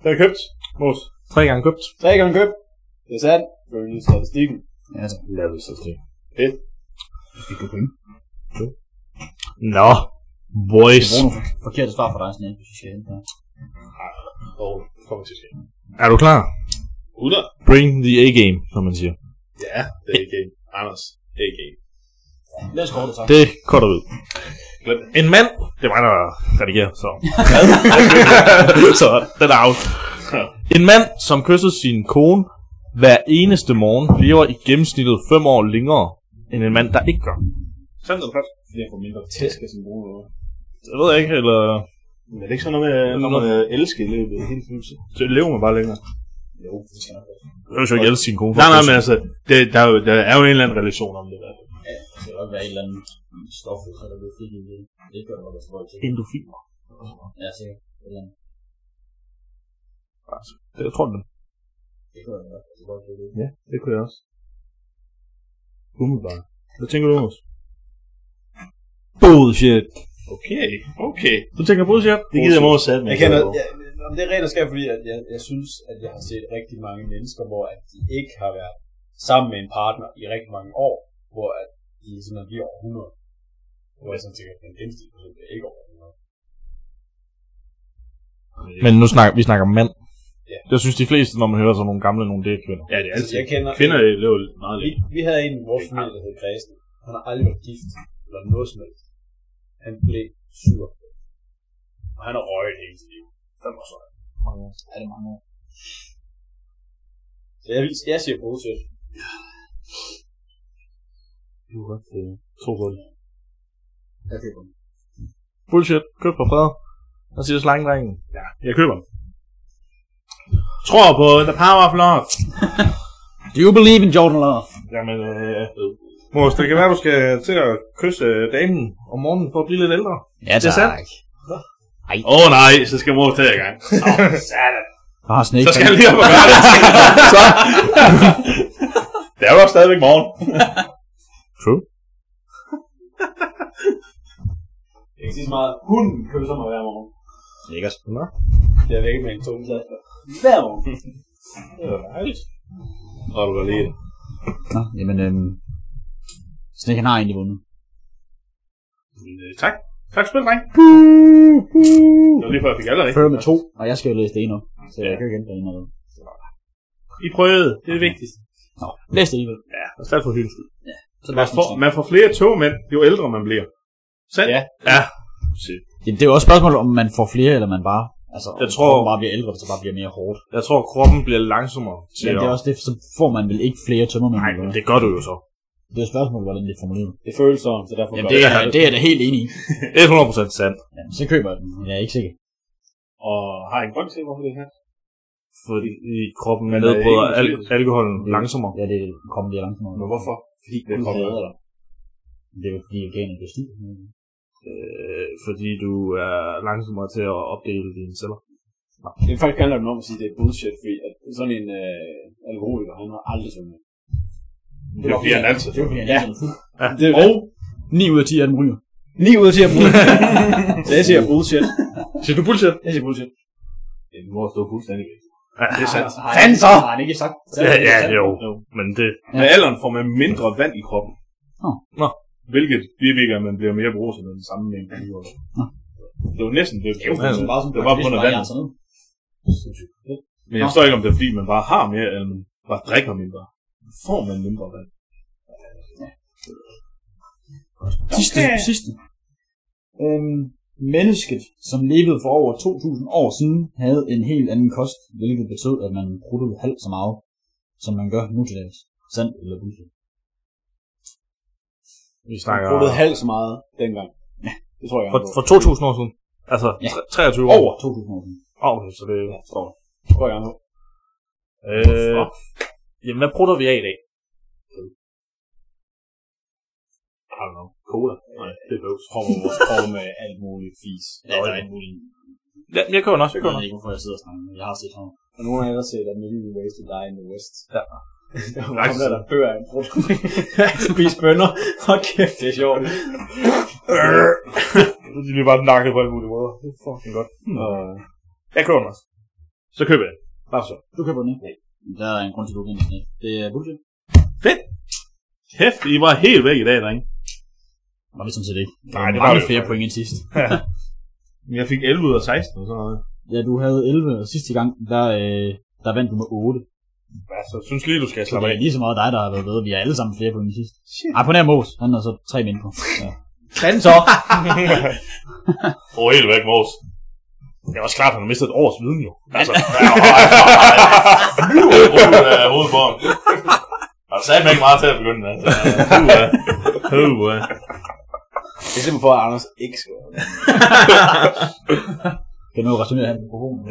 Speaker 1: Den er købt, Mås.
Speaker 5: Tre gange købt.
Speaker 3: Tre gange køb. Det er sandt. Følge statistikken.
Speaker 2: Ja, tak.
Speaker 5: Lad os se.
Speaker 2: Fik du penge?
Speaker 5: Nå, boys.
Speaker 2: Jeg bruger nogle for- forkerte svar fra dig, sådan jeg, hvis vi skal ind her.
Speaker 1: Og kommer til det.
Speaker 5: Er du klar?
Speaker 1: 100.
Speaker 5: Bring the A-game, som man siger.
Speaker 1: Ja, det er ikke Anders, det er ikke
Speaker 2: Lad os kort det så.
Speaker 5: Det korter ud.
Speaker 1: Glem det.
Speaker 5: En mand, det er mig, der redigerer, så. så den er out. En mand, som kysser sin kone hver eneste morgen, lever i gennemsnittet 5 år længere, end en mand, der ikke gør.
Speaker 1: Sådan noget først.
Speaker 3: Fordi jeg får mindre tæsk af sin brune måde.
Speaker 5: Det ved jeg ikke, eller...
Speaker 1: Men er det ikke sådan noget med, når man øh, elsker i løbet af hele tiden?
Speaker 5: Så lever man bare længere.
Speaker 3: Jo, det skal nok være.
Speaker 5: Jeg vil jo ikke elske sin kone. for
Speaker 1: Nej,
Speaker 5: at
Speaker 1: nej,
Speaker 5: kysse
Speaker 1: men altså, det, der, er jo, der er jo en eller anden relation om det. Der.
Speaker 2: Det kan godt være et eller andet stof, der er blevet frigivet. i det. Det kan jeg godt være tilbøjelig til.
Speaker 5: Endofiner.
Speaker 2: Ja, sikkert. Et eller andet.
Speaker 5: Altså, det jeg tror jeg.
Speaker 2: Det kan jeg godt være tilbøjelig til. det.
Speaker 5: Ja, det kunne jeg også. Umiddelbart. Hvad tænker du, Mås? Bullshit.
Speaker 1: Okay, okay.
Speaker 5: Du tænker bullshit?
Speaker 1: Det gider jeg mig også
Speaker 3: Jeg kender, ja, om det er rent og skært, fordi at jeg, jeg synes, at jeg har set rigtig mange mennesker, hvor at de ikke har været sammen med en partner i rigtig mange år, hvor at de sådan er lige over 100. Hvor jeg sådan tænker, at den gennemsnitlige person er ikke over 100.
Speaker 5: Men nu snakker vi snakker mand.
Speaker 3: Ja.
Speaker 5: Jeg synes, de fleste, når man hører sådan nogle gamle, nogle det er kvinder.
Speaker 1: Ja, det er
Speaker 3: Altså,
Speaker 1: altid.
Speaker 3: jeg kender,
Speaker 1: Kvinder lever meget
Speaker 3: vi,
Speaker 1: længe.
Speaker 3: vi havde en i vores familie, der hed Græsen. Han har aldrig været gift, eller noget som helst. Han blev sur. Og han har røget hele sit liv. Det var så.
Speaker 2: Mange år. Er det mange år?
Speaker 3: Så jeg, jeg siger bullshit.
Speaker 5: Du har to runde.
Speaker 2: Jeg køber den.
Speaker 5: Bullshit. Køb på fred. Hvad siger slangdrengen?
Speaker 1: Ja, jeg køber den. Tror på the power of love.
Speaker 2: Do you believe in Jordan Love?
Speaker 5: Jamen, øh, Mås, det kan være, du skal til at kysse øh, damen om morgenen for at blive lidt ældre.
Speaker 2: Ja,
Speaker 5: Det er sandt.
Speaker 1: Åh oh, nej, så skal mor tage i gang. Nå, satan.
Speaker 2: Jeg har sådan ikke.
Speaker 1: Så skal jeg lige op og gøre det. så. Det er jo også stadigvæk morgen.
Speaker 5: True.
Speaker 3: Jeg kan sige så meget, hunden kysser mig hver morgen.
Speaker 5: Lækkert. Nå.
Speaker 3: Det er vækket med en tung plads. Hver morgen.
Speaker 1: Tror du godt lige det.
Speaker 2: Nå, jamen, øhm, Snake, han har egentlig vundet.
Speaker 1: Men, øh, Tak. Tak spil, dreng. Det var lige før, jeg fik allerede.
Speaker 2: Fører med to, og jeg skal jo læse det ene op. Så jeg
Speaker 1: Ja.
Speaker 2: kan jo ikke ændre det noget.
Speaker 1: I prøvede. Det er det vigtigste.
Speaker 2: Nå, læs det alligevel.
Speaker 1: Ja, og stedet for hyggen.
Speaker 2: Så
Speaker 1: Man får, man får flere togmænd, jo ældre man bliver. Sandt?
Speaker 2: Ja.
Speaker 1: Ja.
Speaker 2: det, det er jo også et spørgsmål, om man får flere, eller man bare... Altså,
Speaker 5: Jeg
Speaker 2: om
Speaker 5: tror-
Speaker 2: kroppen bare bliver ældre, så bare bliver mere hårdt.
Speaker 5: Jeg tror, kroppen bliver langsommere. til
Speaker 2: Ja, det er
Speaker 5: at-
Speaker 2: også det, så får man vel ikke flere tømmermænd.
Speaker 5: Nej,
Speaker 2: eller
Speaker 5: men
Speaker 2: hvad?
Speaker 5: det gør du jo så.
Speaker 2: det er jo et spørgsmål, hvordan det er formuleret.
Speaker 3: Det føles sådan, så derfor
Speaker 2: Jamen,
Speaker 3: gør
Speaker 2: det
Speaker 3: jeg
Speaker 2: er, det er jeg da helt enig i.
Speaker 5: 100% sandt.
Speaker 2: Jamen, så køber jeg den. men Jeg er ikke sikker.
Speaker 1: Og har I en grund til, hvorfor det er her?
Speaker 5: Fordi kroppen
Speaker 1: Men, øh,
Speaker 5: nedbryder
Speaker 1: ikke
Speaker 5: al-
Speaker 1: muslim.
Speaker 5: alkoholen langsommere.
Speaker 2: Ja, det kommer lige langsomt.
Speaker 1: Men hvorfor? Fordi
Speaker 2: Det
Speaker 1: det
Speaker 2: kommer
Speaker 1: kommer.
Speaker 2: dig. Det er jo fordi organet bliver stiv.
Speaker 5: Øh, fordi du er langsommere til at opdele dine celler.
Speaker 3: Jeg vil faktisk gerne lade dem om at sige, at det er bullshit, fordi at sådan en øh, alkoholiker, han har aldrig svømmet.
Speaker 1: Det er fordi, han altid.
Speaker 2: Det er jo fordi, han
Speaker 3: Ja.
Speaker 2: er sådan fuld.
Speaker 3: Det er
Speaker 2: Og 9 ud af 10 af dem ryger.
Speaker 3: 9 ud af 10 er bullshit. så jeg siger
Speaker 2: "Uh,
Speaker 3: bullshit.
Speaker 5: Siger du bullshit?
Speaker 3: Jeg siger bullshit.
Speaker 1: Det er mor stå fuldstændig.
Speaker 5: Det
Speaker 1: er sandt.
Speaker 2: Har han-
Speaker 3: Fanden så!
Speaker 2: Har han ikke sagt?
Speaker 5: Ja, ja, jo. Men det...
Speaker 2: Ja.
Speaker 1: Med alderen får man mindre vand i kroppen.
Speaker 2: Nå.
Speaker 5: Nå.
Speaker 1: Hvilket bivirker, at man bliver mere brugt med den samme mængde. i jorden. Det var næsten det.
Speaker 2: Jo,
Speaker 1: det,
Speaker 2: sådan
Speaker 1: var,
Speaker 2: bare sådan
Speaker 1: det var på grund af
Speaker 2: bare
Speaker 1: vandet.
Speaker 2: jern sig ned.
Speaker 5: altså.
Speaker 1: Men jeg forstår ikke, om det er, fordi man bare har mere, eller man bare drikker mindre. Får man mindre vand?
Speaker 2: Sidste, sidste. Øhm, mennesket, som levede for over 2.000 år siden, havde en helt anden kost, hvilket betød, at man pruttede halvt så meget, som man gør nu til dags. Sand eller bullshit.
Speaker 5: Vi
Speaker 3: Han
Speaker 5: snakker
Speaker 3: pruttede halvt så meget dengang. Det tror jeg,
Speaker 5: for,
Speaker 3: han gjorde.
Speaker 5: for 2000 år siden. Altså,
Speaker 2: Ja.
Speaker 5: tre- 23 år.
Speaker 2: Over 2.000 år siden.
Speaker 5: Åh, oh, så det...
Speaker 3: Ja, tror jeg. Det tror jeg, han gjorde.
Speaker 5: Øh, jamen, hvad prutter vi af i dag?
Speaker 1: I don't know. Cola? Nej, det er bøvs. Kommer vores krop med alt muligt fis.
Speaker 2: Ja, der er ikke muligt.
Speaker 5: Ja, jeg køber den også, jeg
Speaker 2: Jeg ved
Speaker 5: køber den også.
Speaker 2: ikke, hvorfor jeg sidder og snakker, men jeg har set ham.
Speaker 3: Og nogen af jer har set A Million Ways to Die in the West.
Speaker 5: Ja.
Speaker 3: Der var ham der, der dør af en brugt. Spis bønder. Hold kæft, det er sjovt.
Speaker 5: De bliver bare nakket på alle mulige måder. Det er fucking godt. øh,
Speaker 1: Og-
Speaker 5: Jeg køber den også. Så køber jeg den. Bare så.
Speaker 2: Du køber den ikke? Nej. Der er en grund til, at du ikke den Det er bullshit.
Speaker 1: Kæft, I var helt væk i dag, drenge.
Speaker 2: Var vi sådan set ikke.
Speaker 5: Nej, det var
Speaker 2: mange
Speaker 5: det jo
Speaker 2: flere
Speaker 5: faktisk.
Speaker 2: point end sidst.
Speaker 1: Men Jeg fik 11 ud af 16 og sådan noget.
Speaker 2: Ja, du havde 11, og sidste gang, der, øh, der vandt du med 8.
Speaker 5: Altså, synes lige, du skal
Speaker 2: Så
Speaker 5: slappe
Speaker 2: det
Speaker 5: af.
Speaker 2: er lige så meget dig, der har været bedre. Vi er alle sammen flere point end sidst. Shit. Ej, på nær Mås. Han er så tre mindre. Ja. Træn så!
Speaker 5: Åh, oh, helt væk, Mors. Det er også klart, at han har mistet et års viden, jo. Altså,
Speaker 1: Ud af hovedet på ham. Og sagde mig ikke meget til at begynde med. Altså. Uh, uh.
Speaker 3: Det er simpelthen for, at Anders ikke skal være med.
Speaker 2: Kan nu returnere han på kronen.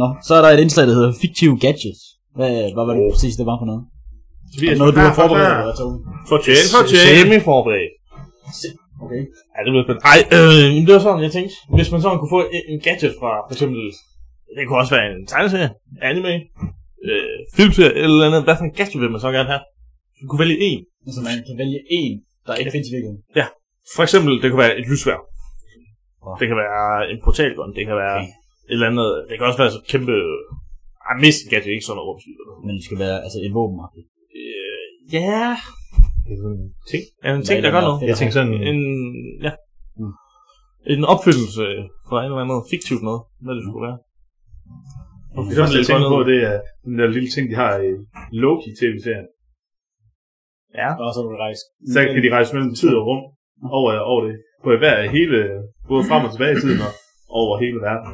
Speaker 2: Nå, så er der et indslag, der hedder Fiktive Gadgets. Hvad, hvad var det præcis, det var for noget?
Speaker 1: Vi er
Speaker 2: Noget, du har forberedt dig, Tom?
Speaker 5: for tjene, for tjene. Semi-forberedt.
Speaker 2: Okay.
Speaker 5: Ja, det blev spændende. Ej, øh, men det var sådan, jeg tænkte. Hvis man sådan kunne få en, en gadget fra, for eksempel, det kunne også være en tegneserie, anime, øh, filmserie, et eller andet. Hvad for en gadget vil man så gerne have? Du kunne vælge en.
Speaker 2: Så Altså, man kan vælge en, der ikke findes i virkeligheden.
Speaker 5: For eksempel, det kan være et lysvær. Det kan være en portalgun, det kan være et eller andet. Det kan også være så kæmpe... Ej, mest en gadget, ikke sådan noget rumskyld.
Speaker 2: Men det skal være altså, et våbenmarked.
Speaker 5: Øh, ja. Ting. Ja, en
Speaker 2: Hvad
Speaker 5: ting,
Speaker 2: er
Speaker 5: der
Speaker 2: det,
Speaker 5: gør
Speaker 2: der er
Speaker 5: noget.
Speaker 2: fedt? Jeg tænkte
Speaker 5: sådan... En, ja.
Speaker 2: Mm.
Speaker 5: En opfyldelse fra en eller anden fiktivt noget, hvad det skulle være.
Speaker 1: Det første, jeg tænker på, det er den der lille ting, de har i Loki-tv-serien.
Speaker 5: Ja.
Speaker 3: Og så vil du rejse.
Speaker 1: Så kan de rejse mellem tid og rum over, over det. På hver hele, både frem og tilbage i tiden og over hele verden.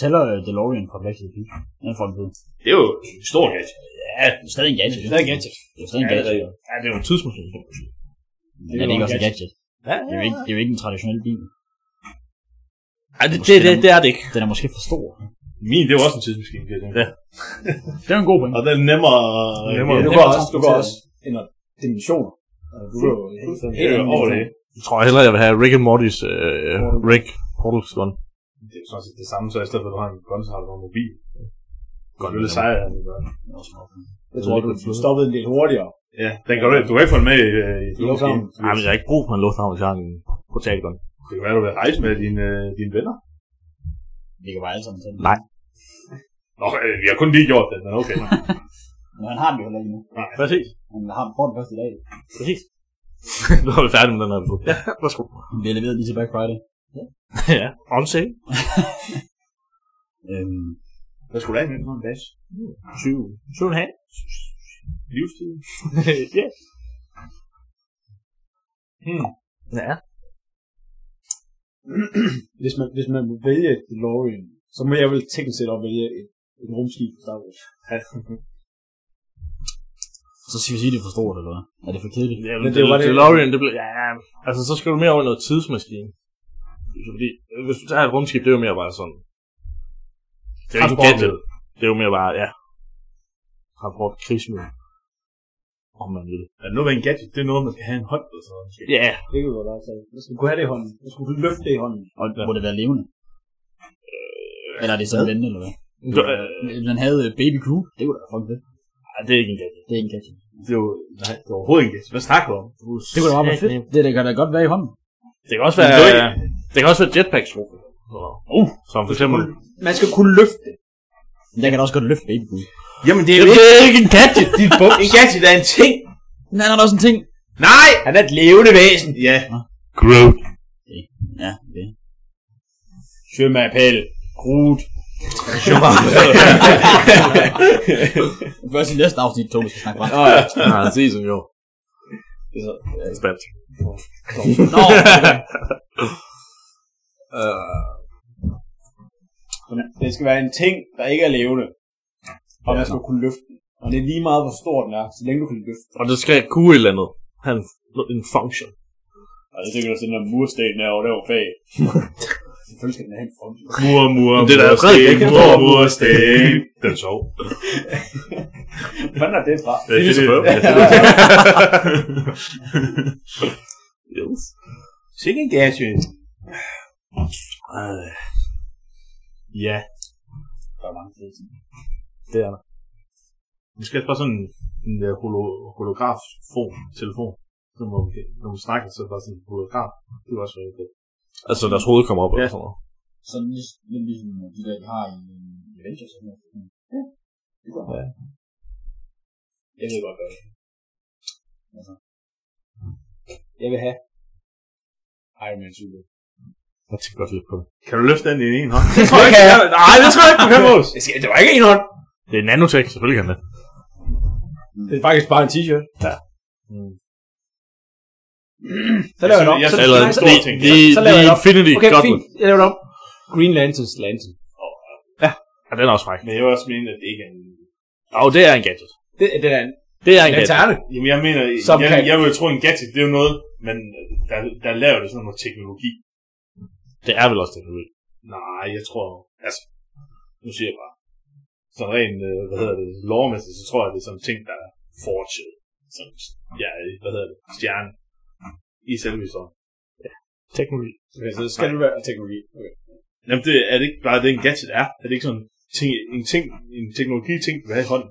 Speaker 2: Tæller øh, DeLorean fra Black Sheep? Den er folk ved.
Speaker 1: Det er jo en stor gadget.
Speaker 2: Ja, det er stadig en gadget.
Speaker 3: Det er en gadget.
Speaker 2: Det er stadig en gadget.
Speaker 5: Ja, det er jo en tidsmaskine.
Speaker 2: Men er det ikke også en gadget?
Speaker 5: Ja,
Speaker 2: Det er jo ikke, det er jo ikke en traditionel bil.
Speaker 5: Ej, det, det, det, det er det ikke.
Speaker 2: Den er måske for stor.
Speaker 1: Min, det er jo også en tidsmaskine, kan jeg tænke.
Speaker 5: Ja.
Speaker 2: Det er en god point.
Speaker 1: Og den er nemmere...
Speaker 5: Nemmere.
Speaker 3: Ja, du
Speaker 2: Nemmere
Speaker 3: går
Speaker 2: at
Speaker 3: også, du går
Speaker 2: transportere.
Speaker 3: også ind og dimensioner. Altså, Du går jo helt sådan
Speaker 1: Det er jo over det.
Speaker 5: Jeg tror hellere, jeg vil have Rick and Morty's øh, Rick Portals gun.
Speaker 1: Det er jo sådan set det samme, så i stedet for at du har en gun, så har du en mobil. Godt,
Speaker 5: Godt,
Speaker 1: det er lidt
Speaker 5: ja.
Speaker 1: sejere, end du gør.
Speaker 3: Jeg tror, du du stoppede en del hurtigere.
Speaker 1: Ja, den kan du, du kan ikke få den med i, øh, i
Speaker 3: Det er jo
Speaker 1: lufthavnen.
Speaker 5: Ej, men jeg har ikke brug for en lufthavn, hvis jeg har en portal gun.
Speaker 1: Det kan være, du vil rejse med dine, øh, dine venner.
Speaker 2: Vi kan bare alle sammen til.
Speaker 5: Nej.
Speaker 1: Nå, øh, vi har kun lige gjort det, men okay.
Speaker 2: Men han har den jo heller ikke nu.
Speaker 5: Præcis.
Speaker 2: Han har den for den første i dag.
Speaker 5: Præcis. nu er vi færdige med den her episode. Ja, værsgo.
Speaker 2: Den bliver leveret lige til Black Friday.
Speaker 5: ja, on sale.
Speaker 2: Øhm,
Speaker 1: Hvad skulle du have med for en bas?
Speaker 5: 7. 7,5.
Speaker 1: Livstid?
Speaker 5: ja. Hmm. Ja.
Speaker 3: Hvis man, hvis man vil vælge et DeLorean, så må jeg vel tænke set at vælge et, et rumskib fra Star Wars.
Speaker 2: så skal vi sige, det er for stort, eller hvad? Er det for kedeligt?
Speaker 5: ja men,
Speaker 3: Men
Speaker 5: men
Speaker 3: det
Speaker 5: det,
Speaker 3: var
Speaker 5: det,
Speaker 3: det-
Speaker 5: DeLorean, det blev... Ja, altså så skal du mere over i noget tidsmaskine. Fordi, øh, hvis du tager et rumskib, det er jo mere bare sådan... Det er jo ikke en gadget. Det er jo mere bare, ja... Transport, krigsmiddel. Om man vil.
Speaker 1: Er det noget med en gadget? Det er noget, man skal have en hånd eller sådan noget.
Speaker 5: Ja, yeah.
Speaker 3: Det kunne du godt sige. Du skulle kunne have det i hånden. Du skulle kunne løfte det i hånden.
Speaker 2: Og må det være levende? Eller er det sådan vende, eller hvad?
Speaker 5: Du, øh,
Speaker 2: Hvis man havde øh, Baby Crew, det kunne da være fucking fedt.
Speaker 5: ej, det er ikke en gadget.
Speaker 2: Det er en gadget.
Speaker 1: Det er jo, nej, det er overhovedet ikke. Hvad snakker du om?
Speaker 2: Det kunne da bare være fedt. Det, det kan da godt være i hånden.
Speaker 5: Det kan også være,
Speaker 1: Men det er jo
Speaker 5: det kan også være jetpacks. Uh, som for eksempel...
Speaker 3: Man skal kunne løfte det.
Speaker 2: Men Jeg kan da også godt løfte Baby Crew.
Speaker 1: Jamen, det
Speaker 5: Det er ikke en gadget!
Speaker 1: dit bums. en gadget er en ting.
Speaker 2: Men han er da også en ting.
Speaker 1: Nej!
Speaker 3: Han er et levende væsen.
Speaker 1: Ja.
Speaker 5: Groot.
Speaker 2: Ja, det. Sømappel. Grut. Først i næste afsnit, Tobi skal snakke fransk.
Speaker 5: Åh ja. Nej, det ses som jo. Spansk.
Speaker 2: Nå,
Speaker 3: Det skal være en ting, der ikke er levende. Og man skal kunne løfte den. Og det er lige meget, hvor stor den er, så længe du kan løfte den.
Speaker 5: Og det skal kunne et eller andet. Han en function.
Speaker 3: Og det er sikkert også den der mursten der, og det var fag. Selvfølgelig skal den have en front.
Speaker 1: Mur, mur,
Speaker 5: Men det er da
Speaker 1: mur,
Speaker 5: Frederik,
Speaker 1: sten,
Speaker 5: ikke?
Speaker 1: mur, mur, sten. Den sov.
Speaker 3: Hvordan er det fra?
Speaker 1: Det er fedt.
Speaker 5: Philip.
Speaker 1: Ja, Philip.
Speaker 5: Yes.
Speaker 1: Sikke en gas, jo. Øh, Ja,
Speaker 3: Der er mange fede ting.
Speaker 5: Det er der.
Speaker 1: vi skal bare sådan en der holo, holografon, telefon. Så må vi, når man snakker, så er det bare sådan en holograf. Det er også rigtig fedt.
Speaker 5: Altså, deres hoved kommer op. Ja. Eller sådan noget.
Speaker 2: sådan lidt, lidt ligesom de der, de har i øh, Avengers. eller sådan noget. Ja, det går. Ja.
Speaker 3: Jeg ved godt, hvad det er. Altså. Jeg vil have Iron Man Super.
Speaker 5: Jeg tænker godt lidt på det.
Speaker 1: Kan du løfte den i en hånd?
Speaker 5: Det tror jeg ikke, jeg- Nej, det tror jeg ikke, du kan, Mås.
Speaker 3: Det, skal, det var ikke en hånd.
Speaker 5: Det er nanotech, selvfølgelig kan det.
Speaker 3: Det er faktisk bare en t-shirt.
Speaker 5: Mm.
Speaker 3: Så laver jeg det om.
Speaker 1: Jeg
Speaker 3: Så,
Speaker 1: synes,
Speaker 5: Eller,
Speaker 1: det er en
Speaker 5: det, det,
Speaker 1: stor
Speaker 5: det,
Speaker 1: ting.
Speaker 5: det,
Speaker 3: så laver jeg det op.
Speaker 5: Infinity
Speaker 3: Okay,
Speaker 5: Gauntlet.
Speaker 3: fint. Jeg laver det om. Green Lanterns Lantern.
Speaker 5: Ja, den er også fræk.
Speaker 1: Men jeg vil også mene, at det ikke er en...
Speaker 5: Og det er en gadget.
Speaker 3: Det, det er en
Speaker 5: Det er en gadget.
Speaker 3: lanterne.
Speaker 1: Jamen, jeg mener,
Speaker 3: Som
Speaker 1: jeg,
Speaker 3: kan-
Speaker 1: jeg vil tro, en gadget, det er jo noget, men der, der laver det sådan noget teknologi.
Speaker 5: Det er vel også teknologi.
Speaker 1: Nej, jeg tror... Altså, nu siger jeg bare... Sådan rent, øh, hvad hedder det, lovmæssigt, så tror jeg, det er sådan ting, der er fortid. Sådan, ja, hvad hedder det, stjerne. I selve historien.
Speaker 5: Teknologi.
Speaker 3: Okay, så skal det være teknologi. Okay.
Speaker 1: Jamen, det, er det ikke bare det, en gadget er? Er det ikke sådan ting, en, ting, en teknologi-ting, du vil have i hånden?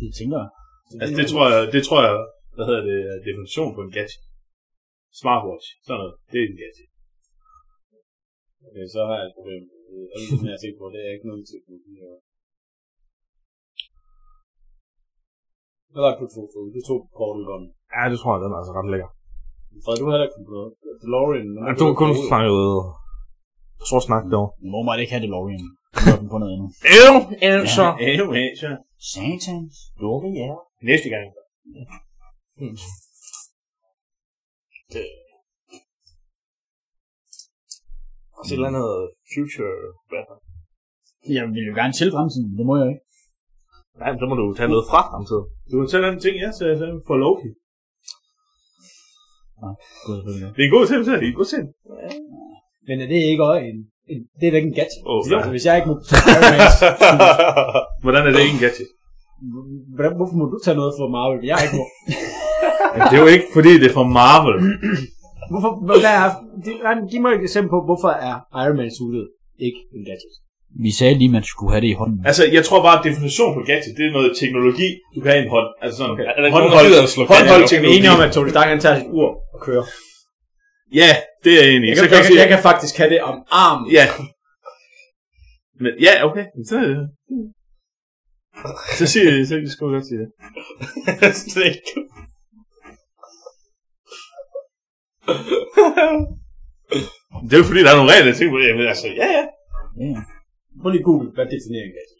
Speaker 2: Det tænker jeg.
Speaker 1: Altså, det tror jeg, det tror jeg, hvad hedder det, er definition på en gadget. Smartwatch, sådan noget, det er en gadget.
Speaker 3: okay, så har jeg et problem. Øh, Alle de ting, jeg tænker på, det er ikke noget med teknologi. at gøre. Hvad har du to fået? Du tog kortet om.
Speaker 5: Ja, det tror jeg, den er altså ret lækker.
Speaker 3: Fred, du har heller ikke fundet på noget. DeLorean.
Speaker 5: Ja, du har kun fanget sort snak derovre.
Speaker 2: Må man ikke have det lov igen. Nu er den på noget andet.
Speaker 5: Øv, øv, så.
Speaker 1: Anyway, så
Speaker 2: Satans.
Speaker 5: Lukke jer.
Speaker 1: næste gang.
Speaker 5: Også et eller andet future rapper.
Speaker 2: Jeg vil jo gerne til fremtiden, men det må jeg ikke.
Speaker 5: Nej, men så må du tage noget fra fremtiden.
Speaker 1: Du kan tælle en ting, jeg sagde sagde for Loki.
Speaker 2: Gud, selvfølgelig.
Speaker 1: Det er en god ting, så er det en god ting.
Speaker 3: Men er det ikke også en... en det er da ikke en gadget.
Speaker 5: Åh,
Speaker 3: jo,
Speaker 5: ja.
Speaker 3: hvis jeg ikke må tage Iron Man,
Speaker 1: Hvordan er det ikke en gadget?
Speaker 3: hvordan, hvorfor må du tage noget fra Marvel? Jeg ikke må.
Speaker 1: Jamen, det er jo ikke, fordi det er fra Marvel.
Speaker 3: Hvorfor, hvad er, det- nej, men giv mig et eksempel på, hvorfor er Iron Man suited ikke en gadget?
Speaker 2: Vi sagde lige, at man skulle have det i hånden.
Speaker 1: Altså, jeg tror bare, at definitionen på gadget, det er noget teknologi, du kan have i en hånd. Altså sådan, okay.
Speaker 5: Er der ikke nogen, der
Speaker 1: håndhold,
Speaker 5: gider at slå
Speaker 1: håndhold
Speaker 5: fat i
Speaker 3: Jeg er
Speaker 1: teknologi.
Speaker 3: enig om, at Tony Stark han tager sit ur og kører.
Speaker 1: Ja, det er jeg enig. i.
Speaker 3: Jeg
Speaker 1: Så jeg
Speaker 3: kan, jeg, kan,
Speaker 1: sige-
Speaker 3: jeg kan faktisk have det om armen.
Speaker 1: Ja. Men, ja, okay. Men Så, så siger jeg, så skal jeg godt sige det.
Speaker 5: Slik.
Speaker 1: Det er jo fordi, der er nogle regler, jeg tænker på det. Jamen, altså, ja, ja.
Speaker 2: Ja, ja.
Speaker 3: Prøv lige google, hvad definerer en gadget.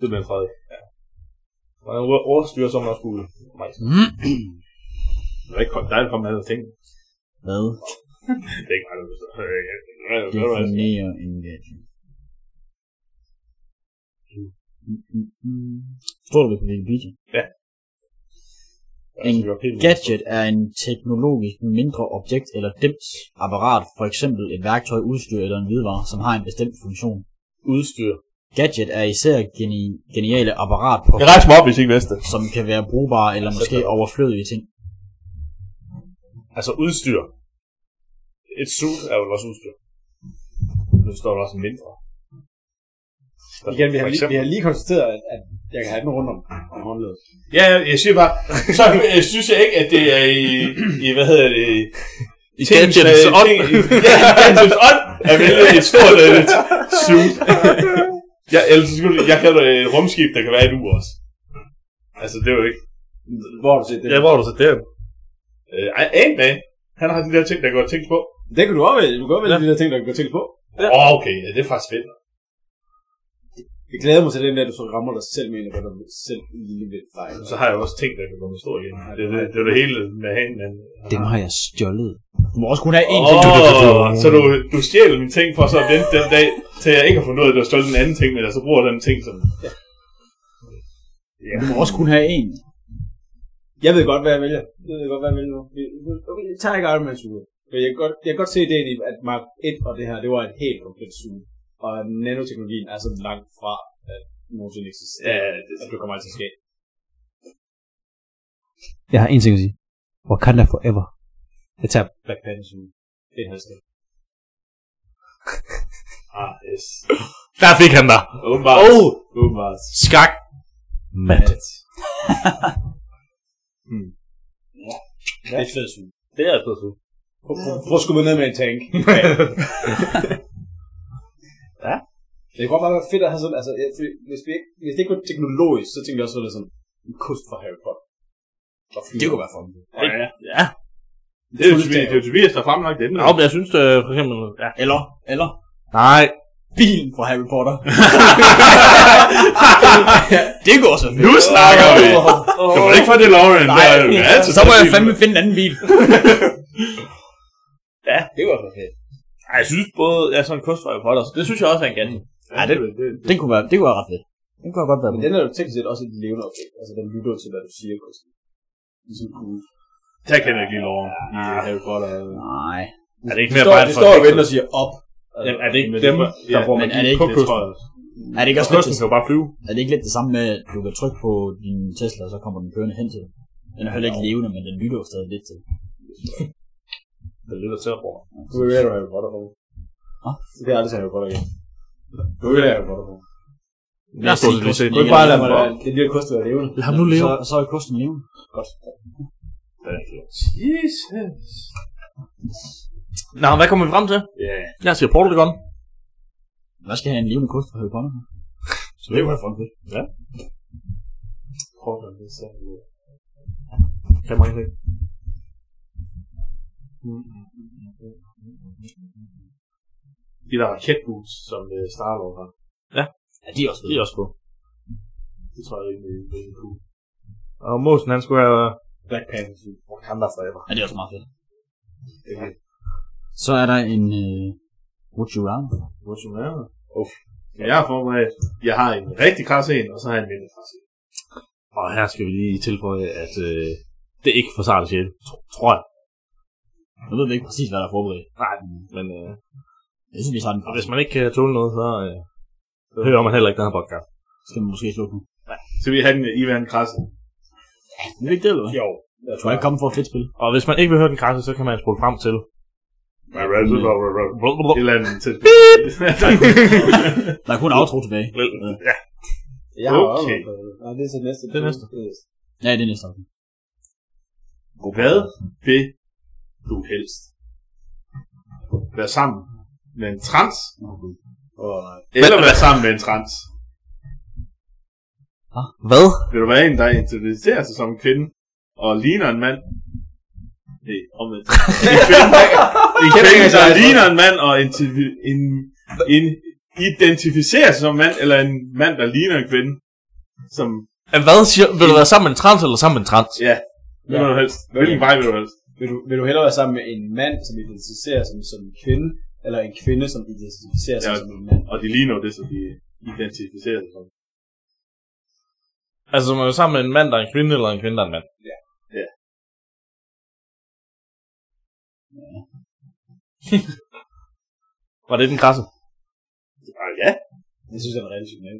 Speaker 5: Det bliver Frederik. Ja. Og han overstyrer, som man også skulle.
Speaker 2: Mm.
Speaker 1: Det er ikke kom- dejligt at komme med alle ting.
Speaker 2: Hvad
Speaker 1: Det er ikke meget, du forstår. Øh, ja. Hvad var det?
Speaker 2: definerer en gadget? Mm, mm, mm. Står det på Wikipedia?
Speaker 1: Ja.
Speaker 2: En
Speaker 1: Det var helt vildt.
Speaker 2: Gadget er en teknologisk mindre objekt eller dims apparat, for eksempel et værktøj, udstyr eller en hvidevare, som har en bestemt funktion.
Speaker 5: Udstyr.
Speaker 2: Gadget er især geni- geniale apparat, på,
Speaker 5: Jeg rejser mig op, hvis I ikke vidste det.
Speaker 2: som kan være brugbare eller måske overflødige ting.
Speaker 5: Altså udstyr. Et suit er jo også udstyr. Nu står der også en mindre.
Speaker 3: Igen, vi har,
Speaker 5: For
Speaker 3: lige, vi
Speaker 5: eksempel.
Speaker 3: har lige konstateret, at, at jeg kan have den rundt om, om håndledet.
Speaker 1: Ja, ja, jeg siger bare, så øh, synes jeg ikke, at det er i, i hvad hedder det,
Speaker 5: I
Speaker 1: tingens, øh, ting- Ja, i gadgets ånd, at vælge et stort øh, et suit. Ja, ellers så skulle det- jeg kalder det et rumskib, der kan være et ur også. Altså, det er jo ikke.
Speaker 3: Hvor har du set det?
Speaker 5: Ja, hvor har du så der?
Speaker 1: Øh, Ant-Man, han har de der ting, der går tænkt på.
Speaker 3: Det kan du også vælge. Du kan også vælge ja. de der ting, der kan gå til på.
Speaker 1: Åh, oh, okay, ja, det er faktisk fedt.
Speaker 3: Jeg glæder mig til den der, du så rammer dig selv med en, hvor du selv lige vil fejle.
Speaker 1: Så har jeg også ting, der kan komme stor igen. Det, det, det, er det hele med Ant-Man.
Speaker 7: Dem har jeg stjålet.
Speaker 2: Du må også kun have én ting.
Speaker 1: Åh, så du, du stjæler min ting for så at vente den dag, til jeg ikke har fundet ud af, at du har stjålet en anden ting, men jeg så bruger den ting som...
Speaker 2: Du må også kun have én.
Speaker 3: Jeg ved godt, hvad jeg vælger. Jeg ved godt, hvad jeg vælger nu. Okay, jeg tager ikke Iron Man suge. For jeg kan godt, jeg kan godt se ideen i, at Mark 1 og det her, det var et helt komplet suge. Og nanoteknologien er så langt fra, at nogensinde eksisterer,
Speaker 1: Ja,
Speaker 3: ja,
Speaker 1: det-
Speaker 3: det, at det kommer altid til at ske.
Speaker 7: Jeg har en ting at sige. Wakanda forever. Jeg tager
Speaker 3: Black Panther suge. Det er halvskab.
Speaker 1: Ah, yes.
Speaker 5: Der fik han dig.
Speaker 1: Åbenbart.
Speaker 5: Oh!
Speaker 1: Åbenbart.
Speaker 5: Skak. Mat.
Speaker 3: Hmm. Det er et fedt suge.
Speaker 5: Det er altså super.
Speaker 3: Prøv- prøv- Prøv at skubbe ned med en tank.
Speaker 5: Ja.
Speaker 3: Det kunne godt bare være fedt at have sådan, altså, jeg, fordi hvis, vi ikke, hvis det ikke var teknologisk, så tænkte jeg også, at det var sådan en kost fra Harry Potter. Og det kunne være for
Speaker 5: Ja. ja.
Speaker 1: Det er jo Tobias, det er jo Tobias, der har fremlagt det.
Speaker 5: Nå, men jeg synes, øh, for eksempel... Ja.
Speaker 2: Eller, eller
Speaker 5: Nej.
Speaker 2: bilen fra Harry Potter. det går så fedt.
Speaker 1: Nu snakker vi! Det var ikke for det, Lauren.
Speaker 2: Nej,
Speaker 1: Der, er altid
Speaker 2: så må jeg
Speaker 1: præcis-
Speaker 2: fandme finde en anden bil.
Speaker 3: Det var for fedt.
Speaker 5: Ej, jeg synes både... Ja, sådan en kunstføj på dig. Det synes jeg også er en ganske.
Speaker 1: Ja, det, det,
Speaker 2: Det kunne være, det kunne være ret fedt. Det kunne jeg godt være
Speaker 3: Men
Speaker 2: med.
Speaker 3: den er jo teknisk set også et levende objekt. Altså, den lytter jo til, hvad du siger, Christian. Ligesom Gud.
Speaker 1: der kan jeg ikke lide Lauren.
Speaker 3: Ja, Harry Potter.
Speaker 2: Nej.
Speaker 5: Er Ah. det ikke
Speaker 3: Det
Speaker 5: mere
Speaker 3: står,
Speaker 5: bare
Speaker 3: det
Speaker 5: et
Speaker 3: står og
Speaker 5: fornægtelse?
Speaker 3: venter og siger op.
Speaker 5: Jamen, er det ikke
Speaker 1: Men
Speaker 5: dem,
Speaker 1: det-
Speaker 5: der
Speaker 1: ja,
Speaker 5: bruger
Speaker 2: men
Speaker 5: man
Speaker 2: er det
Speaker 5: ikke
Speaker 2: ikke
Speaker 5: på
Speaker 2: det,
Speaker 5: kysten?
Speaker 1: tror jeg også.
Speaker 2: Er det ikke også lidt,
Speaker 5: Kysten kan jo bare flyve.
Speaker 2: er det ikke lidt det samme med, at du kan trykke på din Tesla, og så kommer den kørende hen til dig? Den er heller ikke levende, men den lytter jo stadig lidt til. dig.
Speaker 5: Det lytter til at bruge.
Speaker 3: Du vil være Harry Potter på.
Speaker 2: Hva?
Speaker 3: Det er aldrig til Harry Potter igen. Du vil være Harry Potter på.
Speaker 5: Det er stort set.
Speaker 3: Du kan bare lade mig lade det lille kost være levende.
Speaker 2: Lad ham nu leve. Så, så er kosten levende.
Speaker 3: Godt.
Speaker 1: Jesus.
Speaker 5: Nå, hvad kommer vi frem til?
Speaker 1: Ja,
Speaker 5: Jeg siger Portal Gun.
Speaker 2: Hvad skal jeg have en levende kost fra Harry Potter?
Speaker 5: Så det var fucking fedt. Ja.
Speaker 3: Prøv at det så.
Speaker 5: Kan man ikke.
Speaker 1: de der raketboots, som øh, Star-Lord har.
Speaker 2: Ja, de er også
Speaker 5: Det er også på.
Speaker 1: Det tror jeg egentlig er rigtig cool.
Speaker 5: Og Mosen, han skulle have...
Speaker 3: Black Panther. suit.
Speaker 5: Wakanda forever.
Speaker 2: Ja, det er også meget fedt. Så er der en... Øh, would you rather?
Speaker 1: Hvor som er det? Uff. Men jeg har forberedt. Jeg har en rigtig krasse en, og så har jeg en mindre krasse en.
Speaker 5: Og her skal vi lige tilføje, at øh, det er ikke for Sarah Sjæl, tr- tror jeg.
Speaker 2: Jeg ved ikke præcis, hvad der er forberedt.
Speaker 5: Nej, men øh,
Speaker 2: Jeg synes, vi tager den fra.
Speaker 5: hvis man ikke kan tåle noget, så øh, så hører man heller ikke den her podcast.
Speaker 2: Skal man måske slukke nu?
Speaker 1: Så vi har den, I vil have en krasse.
Speaker 2: Er det ikke det, eller hvad?
Speaker 1: Jo.
Speaker 2: Jeg tror, jeg kommer for et fedt spil.
Speaker 5: Og hvis man ikke vil høre den krasse, så kan man spole frem til.
Speaker 1: Et eller andet til.
Speaker 2: Der er kun outro tilbage.
Speaker 5: Ja,
Speaker 3: Jeg har
Speaker 1: Okay.
Speaker 3: også noget på det. Nej, det er så næste.
Speaker 5: Det er næste.
Speaker 2: Ja, det er næste afsnit.
Speaker 1: Hvad vil du helst? Være sammen med en trans?
Speaker 3: Og
Speaker 1: Eller være sammen med en trans?
Speaker 5: Hvad?
Speaker 1: Vil du være en, der identificerer sig som en kvinde, og ligner en mand? Nej, omvendt. En kvinde, en kvinde der ligner en mand, og inti- en, en identificerer sig som en mand, eller en mand, der ligner en kvinde? Som,
Speaker 5: Hvad siger, vil du være sammen med en trans eller sammen med en trans?
Speaker 1: ja, hvad vil du helst? Hvilken vej vil du helst?
Speaker 3: vil du, vil du hellere være sammen med en mand, som identificerer sig som en kvinde, eller en kvinde, som identificerer sig
Speaker 1: Ja.
Speaker 3: som en mand?
Speaker 1: Og de ligner jo det, som de identificerer sig som.
Speaker 5: Altså, man er sammen med en mand, der er en kvinde, eller en kvinde, der er en mand.
Speaker 3: Ja.
Speaker 1: Ja.
Speaker 5: Var det den krasse?
Speaker 1: Ah, ja,
Speaker 3: Jeg synes, den er relativt nem.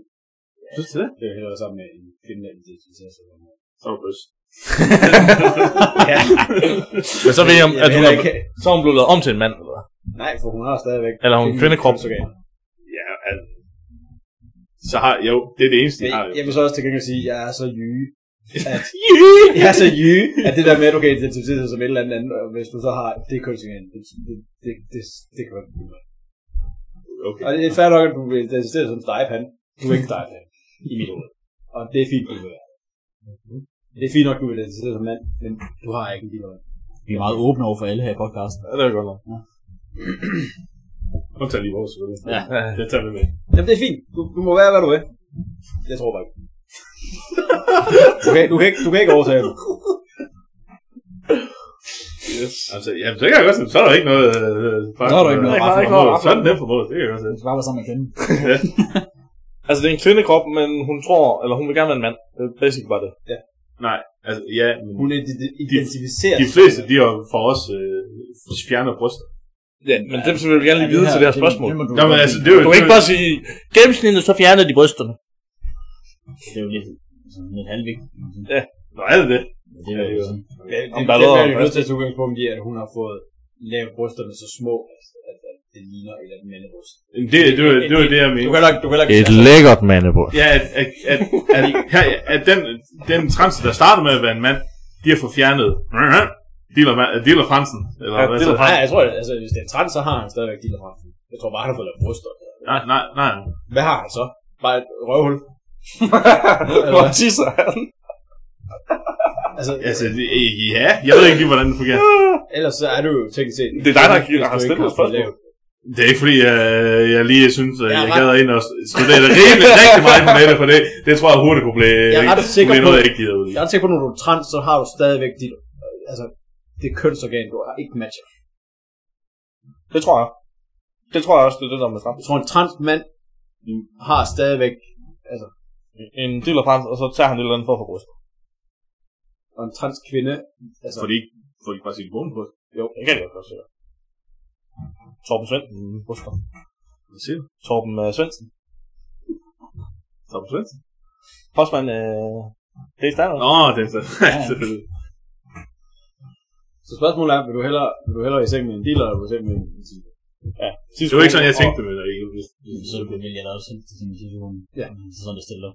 Speaker 1: synes du det?
Speaker 3: Det er jo hellere sammen med en kvinde, der identificerer sig som en mand.
Speaker 1: Så er du bøs.
Speaker 3: Ja.
Speaker 5: Men så ved jeg,
Speaker 3: Jeg
Speaker 5: at
Speaker 3: vil
Speaker 5: hun
Speaker 3: heller
Speaker 5: er,
Speaker 3: ikke
Speaker 5: så er hun blevet lavet om til en mand, eller hvad?
Speaker 3: Nej, for hun har stadigvæk...
Speaker 5: Eller hun er en kvindekrop.
Speaker 3: kønsorgan.
Speaker 1: Ja, altså. Så har, jo, det er det eneste,
Speaker 3: Men
Speaker 1: de har jo.
Speaker 3: jeg vil så også til gengæld sige, at jeg er så jyge, at... jeg er så jyge, at det der med, at du kan identificere dig som et eller andet andet, og hvis du så har det kønsorgan, det, det, det, det, det kan godt blive godt.
Speaker 1: Okay.
Speaker 3: Og det er fair nok, at du bliver identificeret som stegepan. Du er ikke stegepan, i mit hoved. Og det er fint, du vil være. Det er fint nok, du vil identificere dig som mand, men du har ikke en lille hånd.
Speaker 2: Vi er meget åbne over for alle her i podcasten.
Speaker 5: Ja, det er godt nok.
Speaker 1: Nu tager lige vores selvfølgelig.
Speaker 2: Ja.
Speaker 1: Det tager vi med.
Speaker 3: Jamen, det er fint. Du, du må være, hvad du vil. Jeg tror bare ikke. du, kan, du, kan ikke, du kan ikke overtage mig.
Speaker 1: Altså, jamen, så kan jeg godt se, så er der ikke noget... Øh,
Speaker 2: Så er der ikke noget
Speaker 1: Så er der ikke noget. Så er den nemt formodet, det kan jeg godt se.
Speaker 2: Det skal bare være sammen med kvinden.
Speaker 5: Altså, det er en kvindekrop, men hun tror, eller hun vil gerne være en mand. Det er basic bare det.
Speaker 1: Nej, altså, ja, men
Speaker 3: Hun ident- identificerer
Speaker 1: de fleste, de har for os øh, fjerner bryster.
Speaker 5: Ja, men dem vil vi gerne lige
Speaker 2: Ja,
Speaker 5: vide
Speaker 2: her-
Speaker 5: til det her spørgsmål.
Speaker 2: Det, det, må du,
Speaker 1: Nå, men altså, det er jo...
Speaker 5: Du kan ikke bare sige, gennemsnittet, så fjerner de brysterne.
Speaker 2: det er jo lidt, sådan lidt halvvigtigt. kan man sige.
Speaker 1: Nå, er det det?
Speaker 2: Det er jo sådan.
Speaker 3: Ja, det,
Speaker 5: Om
Speaker 3: det,
Speaker 5: der
Speaker 3: der det,
Speaker 5: er noget
Speaker 3: er
Speaker 5: om
Speaker 3: jo nødt til at tage udgangspunkt i, at hun har fået lavet brysterne så små, at- at, at det ligner et eller andet mandebryst.
Speaker 1: Jamen, Det, det, var, det var det, jeg mente.
Speaker 3: kan ikke, du kan
Speaker 5: Et lækkert mandebryst.
Speaker 1: Ja, at, at, at, at, her, at den, den trans, der startede med at være en mand, de har fået fjernet... Dealer, dealer Fransen. Eller,
Speaker 5: Ja,
Speaker 1: hvad
Speaker 5: Diller
Speaker 1: så?
Speaker 3: Nej, jeg tror, at, altså, hvis det er en trans, så har han stadigvæk de der Jeg tror bare, han har fået lavet bryster.
Speaker 1: Nej, nej, nej.
Speaker 3: Hvad har han så? Bare et røvhul?
Speaker 5: Hvor tisser han?
Speaker 3: Altså,
Speaker 1: Altså, det- øh, ja, jeg ved ikke lige, hvordan det fungerer.
Speaker 3: ellers så er du jo teknisk set...
Speaker 5: Det er dig, der har-
Speaker 3: hvis du
Speaker 5: har
Speaker 3: ikke
Speaker 5: stillet
Speaker 3: har fået
Speaker 5: spørgsmålet.
Speaker 3: lavet-
Speaker 1: Det er ikke fordi, jeg, jeg lige synes, at
Speaker 3: Jeg er
Speaker 1: jeg
Speaker 3: ret-
Speaker 1: gad ind og studere det rimelig rigtig meget på nettet, for det, det tror jeg hurtigt kunne blive,
Speaker 3: Jeg er ret sikker
Speaker 1: blive noget,
Speaker 3: på-
Speaker 1: jeg ikke gider ud i.
Speaker 3: Jeg er sikker på, når du er trans, så har du stadigvæk dit... Altså, det kønsorgan, du har ikke matcher.
Speaker 5: Det tror jeg. Det tror jeg også, det er det, der er med frem.
Speaker 3: Jeg tror, en trans mand har stadigvæk... Altså,
Speaker 5: En del af frem, og så tager han et eller andet for for brystet.
Speaker 3: og en trans kvinde... Altså,
Speaker 1: Fordi får de bare sin vågen på.
Speaker 5: Jo, det kan jeg godt se. Torben Svendsen, husker.
Speaker 1: Hvad siger du?
Speaker 5: Torben uh, Svendsen.
Speaker 1: Tom Svendsen?
Speaker 5: Postmand, øh... Det er standard.
Speaker 1: Nå, det er så. selvfølgelig.
Speaker 3: så spørgsmålet er, vil du hellere, vil du hellere i seng med en dealer, eller vil du i seng med en...
Speaker 1: det var ikke sådan, jeg tænkte med dig.
Speaker 2: Så det vil jeg da også til sin situation.
Speaker 3: Ja.
Speaker 2: Så sådan det stiller.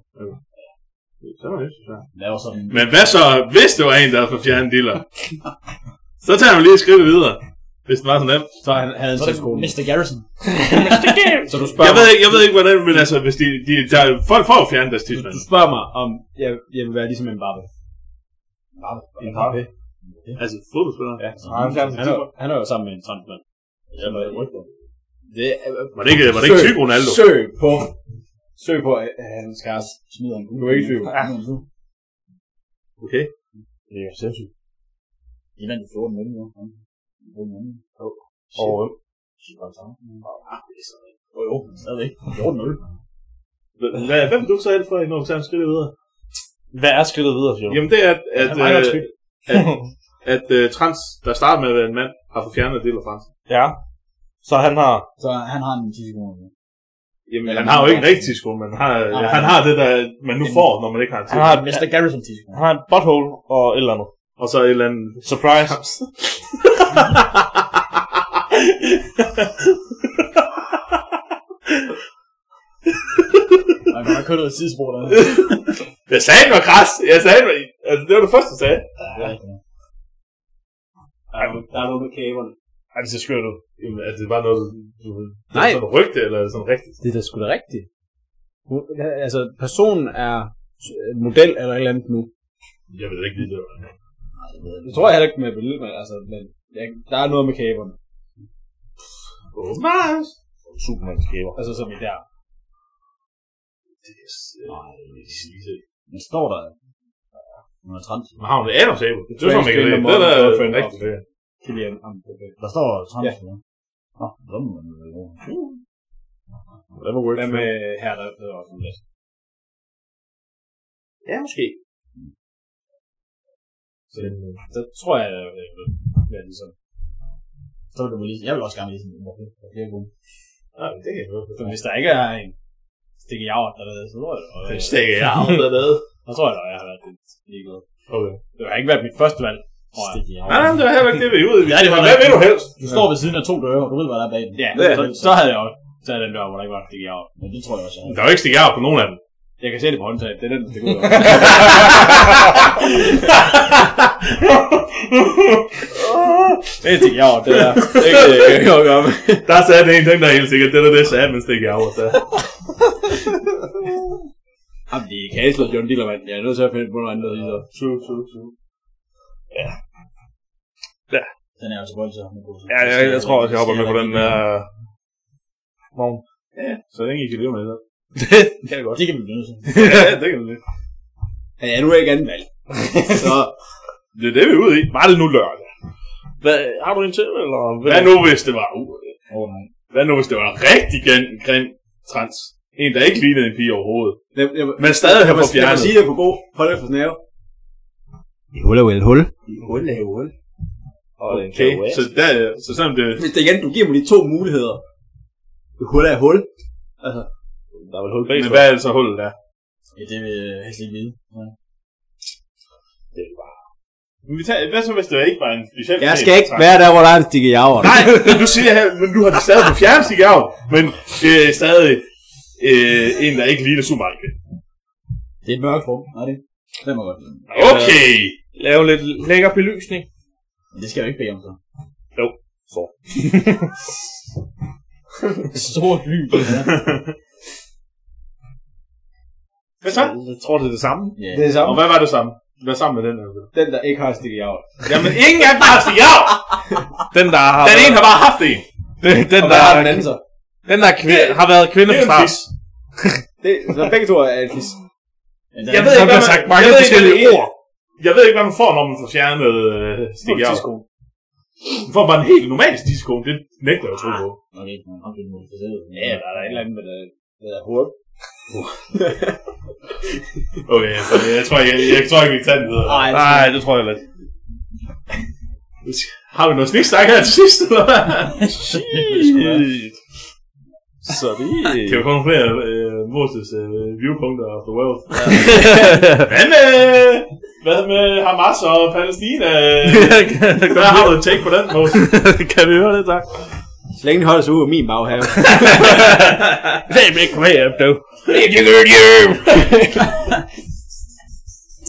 Speaker 1: Så var det, synes jeg.
Speaker 2: Laver sådan
Speaker 1: Men hvad så, hvis det var en, der havde fået fjernet en dealer? så tager man lige et skridt videre. Hvis den var sådan nem.
Speaker 3: Så han havde en
Speaker 2: Så er det
Speaker 3: tidskone.
Speaker 2: Mr. Garrison.
Speaker 3: Så du spørger
Speaker 1: Jeg ved, ikke, jeg ved ikke, hvordan, men altså, hvis de, de der, folk får jo fjernet deres
Speaker 3: mig,
Speaker 1: tidsmand.
Speaker 3: du spørger mig, om jeg, jeg vil være ligesom en bappe. En bappe?
Speaker 1: Altså, fodboldspillere.
Speaker 3: Ja.
Speaker 5: Nej, han fjerner sin
Speaker 3: Han er,
Speaker 5: tidsmand.
Speaker 3: han er jo sammen med en transmand.
Speaker 1: Jamen,
Speaker 3: Det er,
Speaker 1: Var det ikke, var det ikke
Speaker 3: Søg-
Speaker 1: syg Ronaldo?
Speaker 3: Søg på, søg på at at hans kæreste.
Speaker 2: Smider en
Speaker 3: Du er ikke i tvivl.
Speaker 2: Ja.
Speaker 1: Okay.
Speaker 5: Det er sindssygt.
Speaker 2: Det er den 14 mænd, jo. Ja. Fjorten mænd.
Speaker 5: Og
Speaker 1: øh,
Speaker 2: Jo, jo, stadigvæk. 14-0.
Speaker 1: Hvad, hvem du så alt for, når du tager en skridt videre?
Speaker 5: hvad er skridtet videre, siger du?
Speaker 1: Jamen det er, at, at,
Speaker 5: Det er meget
Speaker 1: øh,
Speaker 5: godt skridt.
Speaker 1: at, at øh, trans, der starter med at være en mand, har fået fjernet en del af trans.
Speaker 5: Ja. Så han har...
Speaker 2: Så han har en 10 sekunder.
Speaker 1: Jamen, han har jo ikke rigtig sko, men han har,
Speaker 2: Nej, nej.
Speaker 1: han har det, der man nu
Speaker 2: Men-
Speaker 1: får, når man ikke har en tid.
Speaker 5: Han har et,
Speaker 2: Mr. Garrison 10 sekunder.
Speaker 5: han har et butthole og et eller andet.
Speaker 1: Og så et eller andet...
Speaker 5: Surprise.
Speaker 2: Man kan godt køre noget sidespor der.
Speaker 1: Jeg sagde, det var græs! Jeg sagde, det var... Altså, det var det første, jeg sagde.
Speaker 3: Der er, der er noget med kæberne.
Speaker 1: Ej, det ser skørt ud. Jamen, altså, det er bare noget, du... du
Speaker 3: Nej.
Speaker 1: nej. Sådan rygte, eller sådan rigtigt.
Speaker 3: Det er da sgu da rigtigt. Hun- Altså, personen er øh, model eller et eller andet nu.
Speaker 1: Jeg ved ikke lige, det var.
Speaker 3: Det tror jeg heller ikke med billede, men altså, men jeg, der er noget med kæberne.
Speaker 1: Åbenbart.
Speaker 5: Superman skæver.
Speaker 3: Altså, som i der.
Speaker 1: Det er... Nej,
Speaker 2: Men står der, hun er trans.
Speaker 1: Man har jo det Adams æble. Det tror
Speaker 3: tror jeg,
Speaker 1: man ikke rigtigt. Det
Speaker 3: spiller
Speaker 1: er
Speaker 3: Morten
Speaker 1: da
Speaker 3: Duffy.
Speaker 1: rigtigt. det er.
Speaker 3: altså, Kilian Amberbæk.
Speaker 2: Der står trans.
Speaker 3: Ja.
Speaker 2: Ja. Nå, hvad må man jo.
Speaker 1: Det var
Speaker 3: Hvad med her, der hedder også en lidt.
Speaker 1: Ja, måske.
Speaker 3: Så der tror jeg, jeg vil være ligesom.
Speaker 2: Så vil du lige, jeg vil også gerne lige sådan, hvorfor det er flere gode.
Speaker 1: Ja, det kan jeg godt
Speaker 3: Så hvis der ikke er en stikke javt dernede, så tror jeg, det
Speaker 1: Det
Speaker 3: var-
Speaker 1: stikker jeg af dernede.
Speaker 3: så tror jeg, da, jeg har været lidt ligeglad.
Speaker 1: Okay.
Speaker 3: Det har ikke været mit første valg, tror jeg.
Speaker 2: Stik i
Speaker 1: Nej, nej,
Speaker 2: armen.
Speaker 1: det var heller ikke det, vi er ude i.
Speaker 2: Ja, det var
Speaker 1: Hvad
Speaker 2: det.
Speaker 1: vil du helst?
Speaker 2: Du står ved siden af to døre, og du ved, hvad der er bag den.
Speaker 3: Ja,
Speaker 2: det,
Speaker 3: så, så havde jeg også taget den dør, hvor der ikke var en stikke javt.
Speaker 2: Men det tror jeg også, jeg har.
Speaker 1: Der er jo ikke stikker af på nogen af dem.
Speaker 3: Jeg kan se det på håndtaget. Det er den, der stikker ud. det er stikke javt, det der. Det kan jeg ikke noget at gøre med.
Speaker 1: Der sagde den ene ting, der er helt sikkert. Det der, det sagde, men stikker af. Så.
Speaker 3: Jamen, de kan ikke slå John Dillermand. Jeg er nødt til at finde på noget andet, der siger.
Speaker 1: True, true, true.
Speaker 5: Ja.
Speaker 2: Den er jo til vold, så hun går.
Speaker 5: Ja, jeg, jeg, tror også, jeg hopper med på den der uh, vogn. Ja, så længe I kan leve med det.
Speaker 2: Det kan vi godt. Det kan vi blive nødt til.
Speaker 5: ja, det kan vi.
Speaker 3: Han er nu ikke anden valg. så
Speaker 5: Det er det, vi er ude i. Var det nu lørdag? Hvad, har du en til, eller? Hvad,
Speaker 1: Hvad nu, hvis det var... Uh,
Speaker 2: Åh, nej.
Speaker 1: hvad nu, hvis det var rigtig grim, grim trans? En, der ikke lignede en pige overhovedet.
Speaker 3: jeg, jeg,
Speaker 1: Men stadig
Speaker 3: jeg,
Speaker 1: har
Speaker 3: må,
Speaker 1: fået
Speaker 3: jeg må
Speaker 1: fjernet.
Speaker 3: sige det på god. Hold for snæve.
Speaker 7: Et hul er jo et hul.
Speaker 3: Hul er hul.
Speaker 1: Okay, så, der, så selvom det...
Speaker 3: Hvis det igen, du giver mig de to muligheder. Hul er hul. Altså,
Speaker 5: Der er vel hul bag
Speaker 1: Men hvad er altså hullet der?
Speaker 2: Ja, det vil jeg helst ikke vide. Ja.
Speaker 1: Men vi tager, hvad så, hvis det ikke var en speciel...
Speaker 7: Jeg
Speaker 1: gren
Speaker 7: skal ikke
Speaker 1: trans?
Speaker 7: være der, hvor der er en stikke javre.
Speaker 1: Nej, men nu siger jeg her, men nu har de stadig på fjernstik af, men øh, stadig øh, en, der ikke ligner Supermarke.
Speaker 2: Det er et mørkt rum, nej det. Det må jeg godt lide.
Speaker 1: Okay!
Speaker 5: Lave lidt lækker belysning.
Speaker 2: Men det skal jeg jo ikke bede om så.
Speaker 5: Jo, så.
Speaker 2: Stort lys. Ja.
Speaker 1: Hvad så?
Speaker 5: Jeg tror, det er det samme.
Speaker 2: ja.
Speaker 3: det er
Speaker 1: Og
Speaker 3: samme.
Speaker 1: hvad var det samme? Hvad sammen med den her?
Speaker 3: Den, der ikke har stikket javre.
Speaker 1: Jamen, ingen af dem har stik af!
Speaker 5: Den, der har
Speaker 1: Den
Speaker 5: været,
Speaker 1: ene har bare haft en.
Speaker 5: den, den,
Speaker 3: Og
Speaker 5: der,
Speaker 3: hvad har den anden så?
Speaker 5: den, der kvinde, har været kvinde
Speaker 1: Det er
Speaker 5: fra
Speaker 1: en
Speaker 5: start.
Speaker 1: fisk.
Speaker 3: Det, så begge to er en fis.
Speaker 2: Men der
Speaker 1: Jeg
Speaker 2: er-
Speaker 1: ved
Speaker 5: Der
Speaker 1: ikke, hvad
Speaker 5: bliver
Speaker 1: man,
Speaker 5: sagt mange
Speaker 1: jeg ved ikke,
Speaker 5: forskellige
Speaker 1: hvad man-
Speaker 5: ord.
Speaker 1: Jeg ved ikke, hvad man får, når man får fjernet øh, stik af. Man får bare en helt normal disco. Det nægter jeg at tro på.
Speaker 2: Nok ikke, man har blivet modificeret.
Speaker 3: Ja, der er da et eller andet med det, det der hul.
Speaker 1: Okay, altså, jeg tror ikke, jeg, jeg tror ikke, vi kan tage den videre.
Speaker 3: Nej,
Speaker 5: Nej, det tror jeg lidt.
Speaker 1: Har vi noget sniksnak her til sidst, eller hvad?
Speaker 5: Så det...
Speaker 1: Kan vi få nogle flere øh, Moses øh, viewpunkter of the world? Hvad med, hvad med Hamas og Palæstina? Hvad har du et take på den, Moses?
Speaker 5: kan vi høre det, tak?
Speaker 3: Så længe de holder sig ud af min baghave.
Speaker 5: Hey, men kom her, du.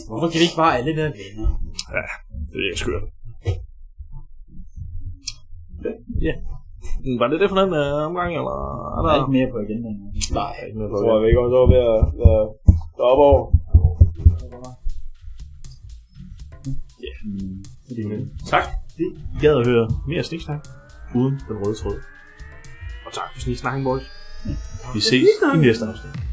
Speaker 2: Hvorfor kan vi ikke bare alle være venner?
Speaker 5: Det er skørt. Ja. Var det det for den uh, omgang, eller? Er
Speaker 2: Der
Speaker 5: der...
Speaker 2: er ikke mere på agendaen.
Speaker 5: Nej, ikke noget
Speaker 3: Jeg
Speaker 5: på
Speaker 3: tror,
Speaker 5: det.
Speaker 3: vi ikke også over ved at være deroppe over.
Speaker 5: Tak. Det gad at høre mere sniksnak uden den røde tråd. Og tak for sniksnakken, boys. Vi ses i næste afsnit.